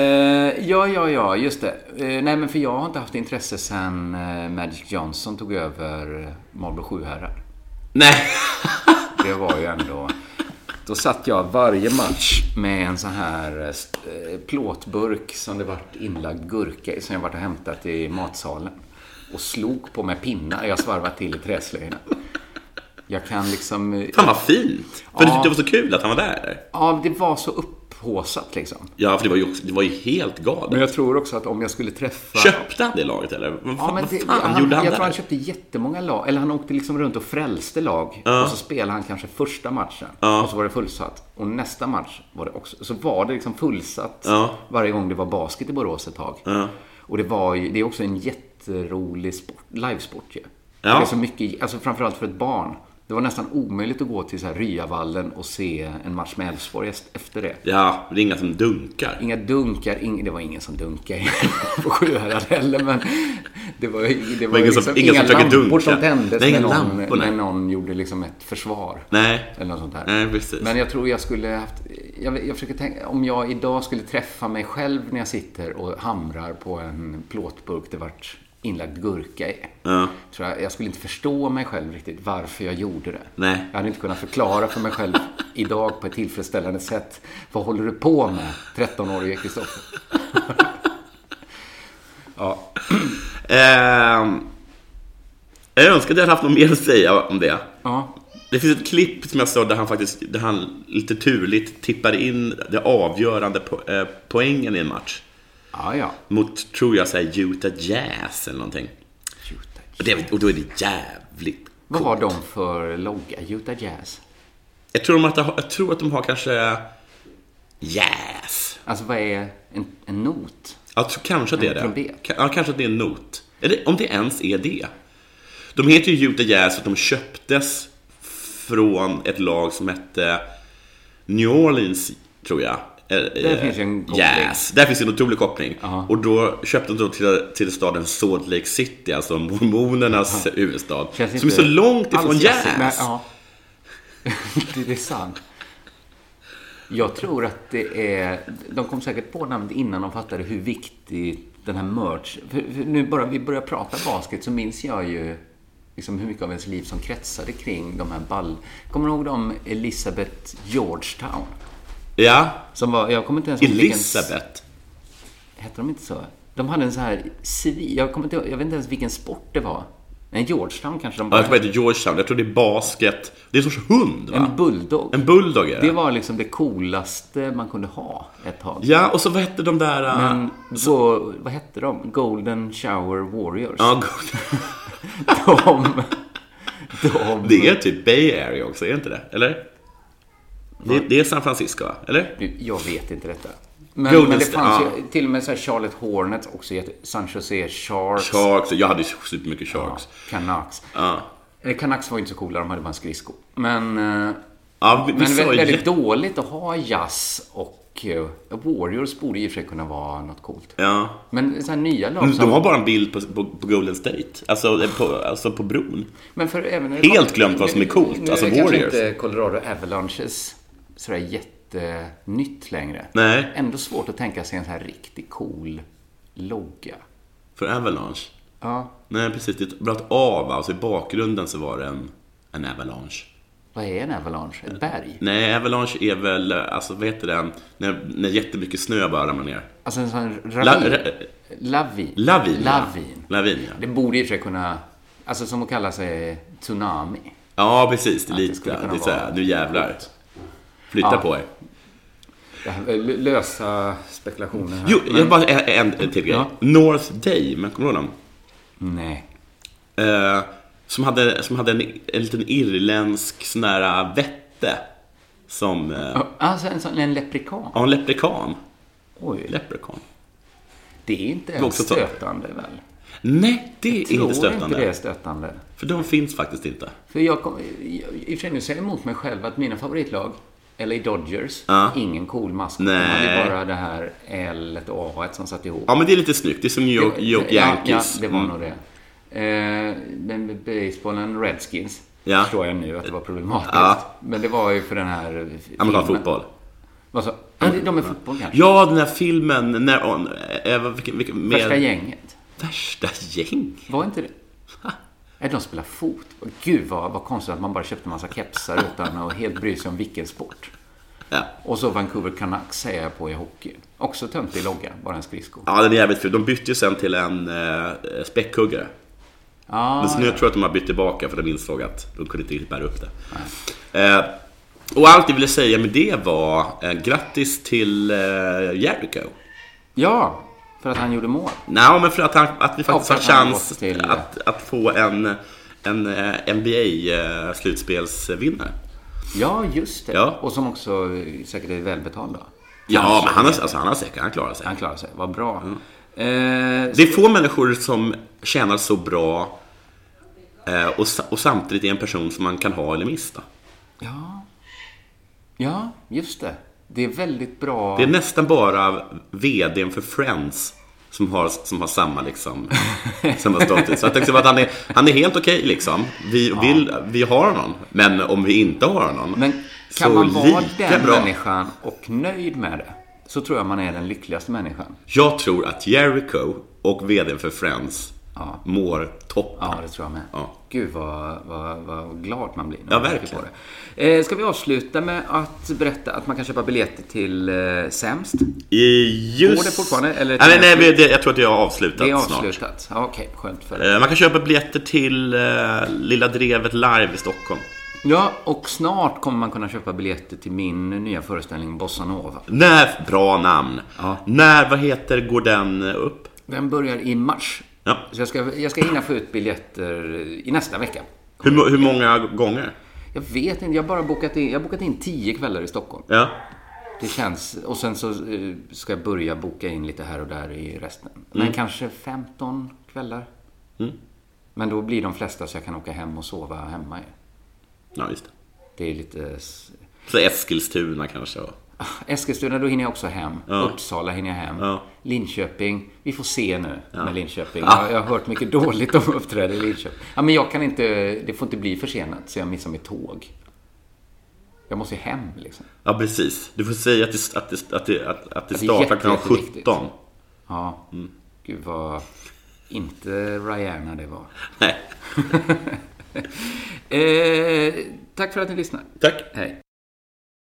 Speaker 1: ja, ja, ja, just det. Eh, nej, men för jag har inte haft intresse sen eh, Magic Johnson tog över eh, Marlboro Sjuhärad.
Speaker 3: Nej.
Speaker 1: (laughs) Det var ju ändå... Då satt jag varje match med en sån här eh, st- eh, plåtburk som det varit inlagd gurka i, som jag varit och hämtat i matsalen. Och slog på med pinnar jag svarvat till i träslöjorna. Jag kan liksom... eh,
Speaker 3: Fan vad fint. För
Speaker 1: Ja.
Speaker 3: du tyckte det var så kul att han var där.
Speaker 1: Ja, det var så upphåsat liksom.
Speaker 3: Ja, för det var ju, också, det var ju helt galet.
Speaker 1: Men jag tror också att om jag skulle träffa...
Speaker 3: Köpte han det laget eller? Vad
Speaker 1: Ja,
Speaker 3: fan,
Speaker 1: men det,
Speaker 3: vad fan
Speaker 1: han,
Speaker 3: gjorde han
Speaker 1: jag
Speaker 3: där?
Speaker 1: tror han köpte jättemånga lag. Eller han åkte liksom runt och frälste lag. Och så spelade han kanske första matchen. Och så var det fullsatt. Och nästa match var det också. Så var det liksom fullsatt
Speaker 3: Ja.
Speaker 1: varje gång det var basket i Borås ett tag. Och det var ju, det är också en jätterolig sport, livesport ju.
Speaker 3: Ja.
Speaker 1: Det är så mycket, alltså framförallt för ett barn. Det var nästan omöjligt att gå till så här Ryavallen och se en match med Elfsborg efter det.
Speaker 3: Ja, det är inga som dunkar.
Speaker 1: Inga dunkar, ing, det var ingen som dunkade (laughs) på Sjuhärad heller, men det var, ju- det var
Speaker 3: ingen
Speaker 1: ingen
Speaker 3: som-
Speaker 1: liksom,
Speaker 3: ingen som
Speaker 1: inga
Speaker 3: försöker
Speaker 1: lampor
Speaker 3: dunka.
Speaker 1: som tändes
Speaker 3: Nej,
Speaker 1: när,
Speaker 3: inga
Speaker 1: någon,
Speaker 3: lampor, nej.
Speaker 1: när någon gjorde liksom ett försvar.
Speaker 3: Nej.
Speaker 1: Eller något sånt där.
Speaker 3: Nej, precis.
Speaker 1: Men jag tror jag skulle haft, jag, jag försöker tänka, om jag idag skulle träffa mig själv när jag sitter och hamrar på en plåtburk det vart inlagd gurka i.
Speaker 3: Ja.
Speaker 1: Tror jag, jag skulle inte förstå mig själv riktigt varför jag gjorde det.
Speaker 3: Nej.
Speaker 1: Jag hade inte kunnat förklara för mig
Speaker 3: (laughs)
Speaker 1: själv idag på ett tillfredsställande sätt. Vad håller du på med, 13-årige Kristoffer? ja.
Speaker 3: Ehm, jag önskar att jag hade haft något mer att säga om det.
Speaker 1: ja.
Speaker 3: Det finns ett klipp som jag såg där han faktiskt, där han lite turligt tippar in det avgörande po- eh, poängen i en match.
Speaker 1: Ja, ja.
Speaker 3: Mot, tror jag, så här Utah Jazz eller någonting. Och, det, och då är det jävligt
Speaker 1: Vad har de för logga? Utah Jazz?
Speaker 3: Jag tror, de att, jag tror att de har kanske Yes.
Speaker 1: Alltså, vad är en, en not?
Speaker 3: Jag tror kanske att det är
Speaker 1: En
Speaker 3: det.
Speaker 1: trumpet.
Speaker 3: Ka- Ja, kanske att det är en not. Eller om det ens är det. De heter ju Utah Jazz för att de köptes från ett lag som hette New Orleans, tror jag. Där
Speaker 1: finns ju en koppling.
Speaker 3: Jazz. Där finns ju en otrolig koppling.
Speaker 1: Ja.
Speaker 3: Och då köpte de dem till, till staden Salt Lake City, alltså mormonernas huvudstad.
Speaker 1: Känns
Speaker 3: Som är
Speaker 1: inte
Speaker 3: så långt ifrån
Speaker 1: alls
Speaker 3: jazz.
Speaker 1: jazzigt, men, ja. det, det är sant. Jag tror att det är... De kom säkert på namnet innan de fattade hur viktig den här merch... För, för nu bara vi börjar prata basket så minns jag ju liksom hur mycket av ens liv som kretsade kring de här ball... Kommer du ihåg dem? Elizabeth Georgetown?
Speaker 3: ja.
Speaker 1: Som var, jag kommer inte ens ihåg vilken-
Speaker 3: Elisabeth.
Speaker 1: Hette de inte så? De hade en så här civil... Jag, kommer inte, jag vet inte ens vilken sport det var. En Georgetown kanske de
Speaker 3: Ja,
Speaker 1: bara...
Speaker 3: jag tror det heter Georgetown. Jag tror det är basket. Det är en sorts hund, va?
Speaker 1: en bulldog.
Speaker 3: En bulldog är det.
Speaker 1: Det var liksom det coolaste man kunde ha ett tag.
Speaker 3: Ja, och så vad hette de där... äh,
Speaker 1: Men så, vad hette de? Golden Shower Warriors.
Speaker 3: Ja, god-
Speaker 1: (laughs) De, de,
Speaker 3: det är typ Bay Area också, är det inte det? Eller? Det, det är San Francisco, va? Eller?
Speaker 1: Nu, jag vet inte detta. Men,
Speaker 3: Golden
Speaker 1: men det
Speaker 3: Sta-
Speaker 1: fanns
Speaker 3: ja.
Speaker 1: ju till och med så här Charlotte Hornets också. jätte- San Jose Sharks.
Speaker 3: Sharks. Jag hade ju supermycket
Speaker 1: Ja,
Speaker 3: Sharks.
Speaker 1: Canucks.
Speaker 3: Ja.
Speaker 1: Eh, Canucks var ju inte så coola, de hade bara en skridsko. Men, eh,
Speaker 3: Ja, vi, vi
Speaker 1: men
Speaker 3: sa
Speaker 1: vä-
Speaker 3: ju
Speaker 1: väldigt
Speaker 3: jätte-
Speaker 1: dåligt att ha jazz och eh, Warriors borde i och för sig kunna vara något coolt.
Speaker 3: Ja.
Speaker 1: Men så här nya lag
Speaker 3: Men
Speaker 1: som-
Speaker 3: Mm, De har bara en bild på, på, på Golden State. Alltså eh, på, alltså på bron.
Speaker 1: Men för även när det
Speaker 3: Helt
Speaker 1: kom-
Speaker 3: glömt vad som är coolt,
Speaker 1: Nu, nu
Speaker 3: alltså
Speaker 1: är kanske
Speaker 3: Warriors.
Speaker 1: inte Colorado Avalanches sådär jättenytt längre.
Speaker 3: Nej.
Speaker 1: Ändå svårt att tänka sig en sån här riktigt cool logga.
Speaker 3: För Avalanche.
Speaker 1: Ja,
Speaker 3: Nej, precis. Det är ett- bara ett A, va? Och så i bakgrunden så var det en, en Avalanche.
Speaker 1: vad är en avalanche? Ett berg?
Speaker 3: Nej, Avalanche är väl, eh, alltså vad heter den? När, när jättemycket snö bara ramlar ner.
Speaker 1: Alltså en sån
Speaker 3: La,
Speaker 1: ravin?
Speaker 3: ra,
Speaker 1: lavin?
Speaker 3: lavin, ja.
Speaker 1: Lavin.
Speaker 3: Lavin, ja.
Speaker 1: Det borde i och för sig kunna... Alltså som att kalla sig tsunami.
Speaker 3: Ja, precis. Det är
Speaker 1: det
Speaker 3: lite.
Speaker 1: skulle
Speaker 3: Det,
Speaker 1: kunna
Speaker 3: är så här,
Speaker 1: vara-
Speaker 3: nu jävlar. Flytta
Speaker 1: Ja.
Speaker 3: på er.
Speaker 1: Det här, eh, lösa spekulationer här.
Speaker 3: Jo, jag bara en, en till grej.
Speaker 1: Ja.
Speaker 3: North Dame, kommer du ihåg dem?
Speaker 1: Nej.
Speaker 3: Eh, som hade, som hade en, en liten irländsk sån där vette. Som... Eh,
Speaker 1: Alltså en sån, en leprekan?
Speaker 3: ja, en leprekan.
Speaker 1: Oj.
Speaker 3: Leprekan.
Speaker 1: Det är inte
Speaker 3: var
Speaker 1: ens
Speaker 3: också så-
Speaker 1: stötande väl?
Speaker 3: Nej, det är
Speaker 1: Tror
Speaker 3: inte stötande.
Speaker 1: inte det är stötande.
Speaker 3: För de finns faktiskt inte.
Speaker 1: För jag kom, i i och för sig nu säger jag emot mig själv att mina favoritlag, LA Dodgers,
Speaker 3: Ja.
Speaker 1: ingen cool maskot.
Speaker 3: Nej.
Speaker 1: De hade bara det här L och A som satt ihop.
Speaker 3: Ja, men det är lite snyggt. Det är som New York, New York Yankees.
Speaker 1: Ja, ja, det var
Speaker 3: Mm.
Speaker 1: nog det. Eh, men med basebollen Redskins
Speaker 3: Ja.
Speaker 1: förstår jag nu att det var problematiskt.
Speaker 3: Ja.
Speaker 1: Men det var ju för den här... filmen.
Speaker 3: Amerikansk fotboll.
Speaker 1: Vad sa- Ja, det- de är fotboll kanske.
Speaker 3: Ja, den här filmen när... On, eh, vilken, vilken, med,
Speaker 1: Första gänget.
Speaker 3: Värsta gäng.
Speaker 1: Var inte det? Nej, de spelar fotboll. Gud vad, vad konstigt att man bara köpte en massa kepsar utan att helt bry sig om vilken sport.
Speaker 3: Ja.
Speaker 1: Och så Vancouver Canucks säger jag på i hockey. Också tömt i logga, bara en skridsko.
Speaker 3: Ja, den är jävligt ful. De bytte ju sen till en eh, späckhuggare.
Speaker 1: Ah,
Speaker 3: Men så nu tror jag att de har bytt tillbaka för de insåg att de kunde inte riktigt bära upp det. Eh, och allt jag ville säga med det var eh, grattis till eh, Jericho.
Speaker 1: ja, för att han gjorde mål.
Speaker 3: Nej, men för att, han, att vi faktiskt
Speaker 1: Och
Speaker 3: har
Speaker 1: att han har
Speaker 3: chans
Speaker 1: gått till-
Speaker 3: att, att få en, en eh, NBA-slutspelsvinnare.
Speaker 1: Ja, just det.
Speaker 3: Ja.
Speaker 1: Och som också eh, säkert är välbetald då.
Speaker 3: Ja, men han Mm. har, alltså, han har säkert, han klarar sig.
Speaker 1: Han klarar sig, vad bra. Eh,
Speaker 3: Det är få människor som tjänar så bra eh, och, sa- och samtidigt är en person som man kan ha eller mista.
Speaker 1: ja. ja, just det. Det är väldigt bra.
Speaker 3: Det är nästan bara VDn för Friends som har, som har
Speaker 1: (laughs)
Speaker 3: samma, liksom, samma status. Så jag tänkte att han är, han är helt okej liksom. Vi, vill, vi har honom. Men om vi inte har honom.
Speaker 1: Men
Speaker 3: så
Speaker 1: kan man vara
Speaker 3: lika
Speaker 1: den
Speaker 3: bra.
Speaker 1: människan och nöjd med det, så tror jag man är den lyckligaste människan.
Speaker 3: Jag tror att Jericho och VDn för Friends
Speaker 1: Ja.
Speaker 3: mår toppen.
Speaker 1: Ja, det tror jag med.
Speaker 3: Ja.
Speaker 1: Gud vad, vad, vad glad man blir. när
Speaker 3: Ja,
Speaker 1: man tänker
Speaker 3: verkligen.
Speaker 1: det. Eh, ska vi avsluta med att berätta att man kan köpa biljetter till eh, Sämst?
Speaker 3: I- Just...
Speaker 1: Går det fortfarande, eller-
Speaker 3: nej, nej, nej, det, jag tror att det har avslutat
Speaker 1: Det är
Speaker 3: snart.
Speaker 1: avslutat. Ja, Okej, skönt för dig.
Speaker 3: Eh, Man kan köpa biljetter till eh, Lilla Drevet live i Stockholm.
Speaker 1: Ja, och snart kommer man kunna köpa biljetter till min nya föreställning Bossa Nova.
Speaker 3: När, bra namn. När, vad heter, går den upp?
Speaker 1: Den börjar i mars.
Speaker 3: Ja.
Speaker 1: Så jag ska, jag ska hinna få ut biljetter i nästa vecka.
Speaker 3: Hur, mo- hur många gånger?
Speaker 1: Jag vet inte, jag har bara bokat in, jag har bokat in tio kvällar i Stockholm.
Speaker 3: Ja.
Speaker 1: Det känns, och sen så eh, ska jag börja boka in lite här och där i resten. Men kanske 15 kvällar. Men då blir de flesta så jag kan åka hem och sova hemma ju.
Speaker 3: Ja, just det.
Speaker 1: Det är lite... s- (laughs)
Speaker 3: Så Eskilstuna kanske? och-
Speaker 1: Ah, Eskilstuna, då hinner jag också hem. Uppsala hinner jag hem.
Speaker 3: Ja.
Speaker 1: Linköping, vi får se nu med Linköping. Jag, jag har hört mycket dåligt om uppträden i Linköping. Ja, men jag kan inte, det får inte bli försenat så jag missar mitt tåg. Jag måste ju hem liksom.
Speaker 3: Ja, precis. Du får säga att det, att det, att det, att, att det
Speaker 1: är
Speaker 3: startar
Speaker 1: jätte-
Speaker 3: klockan
Speaker 1: jätteviktigt.
Speaker 3: 17.
Speaker 1: Ja, gud vad inte Rihanna det var.
Speaker 3: Nej.
Speaker 1: eh, tack för att ni lyssnar.
Speaker 3: Tack.
Speaker 1: Hej.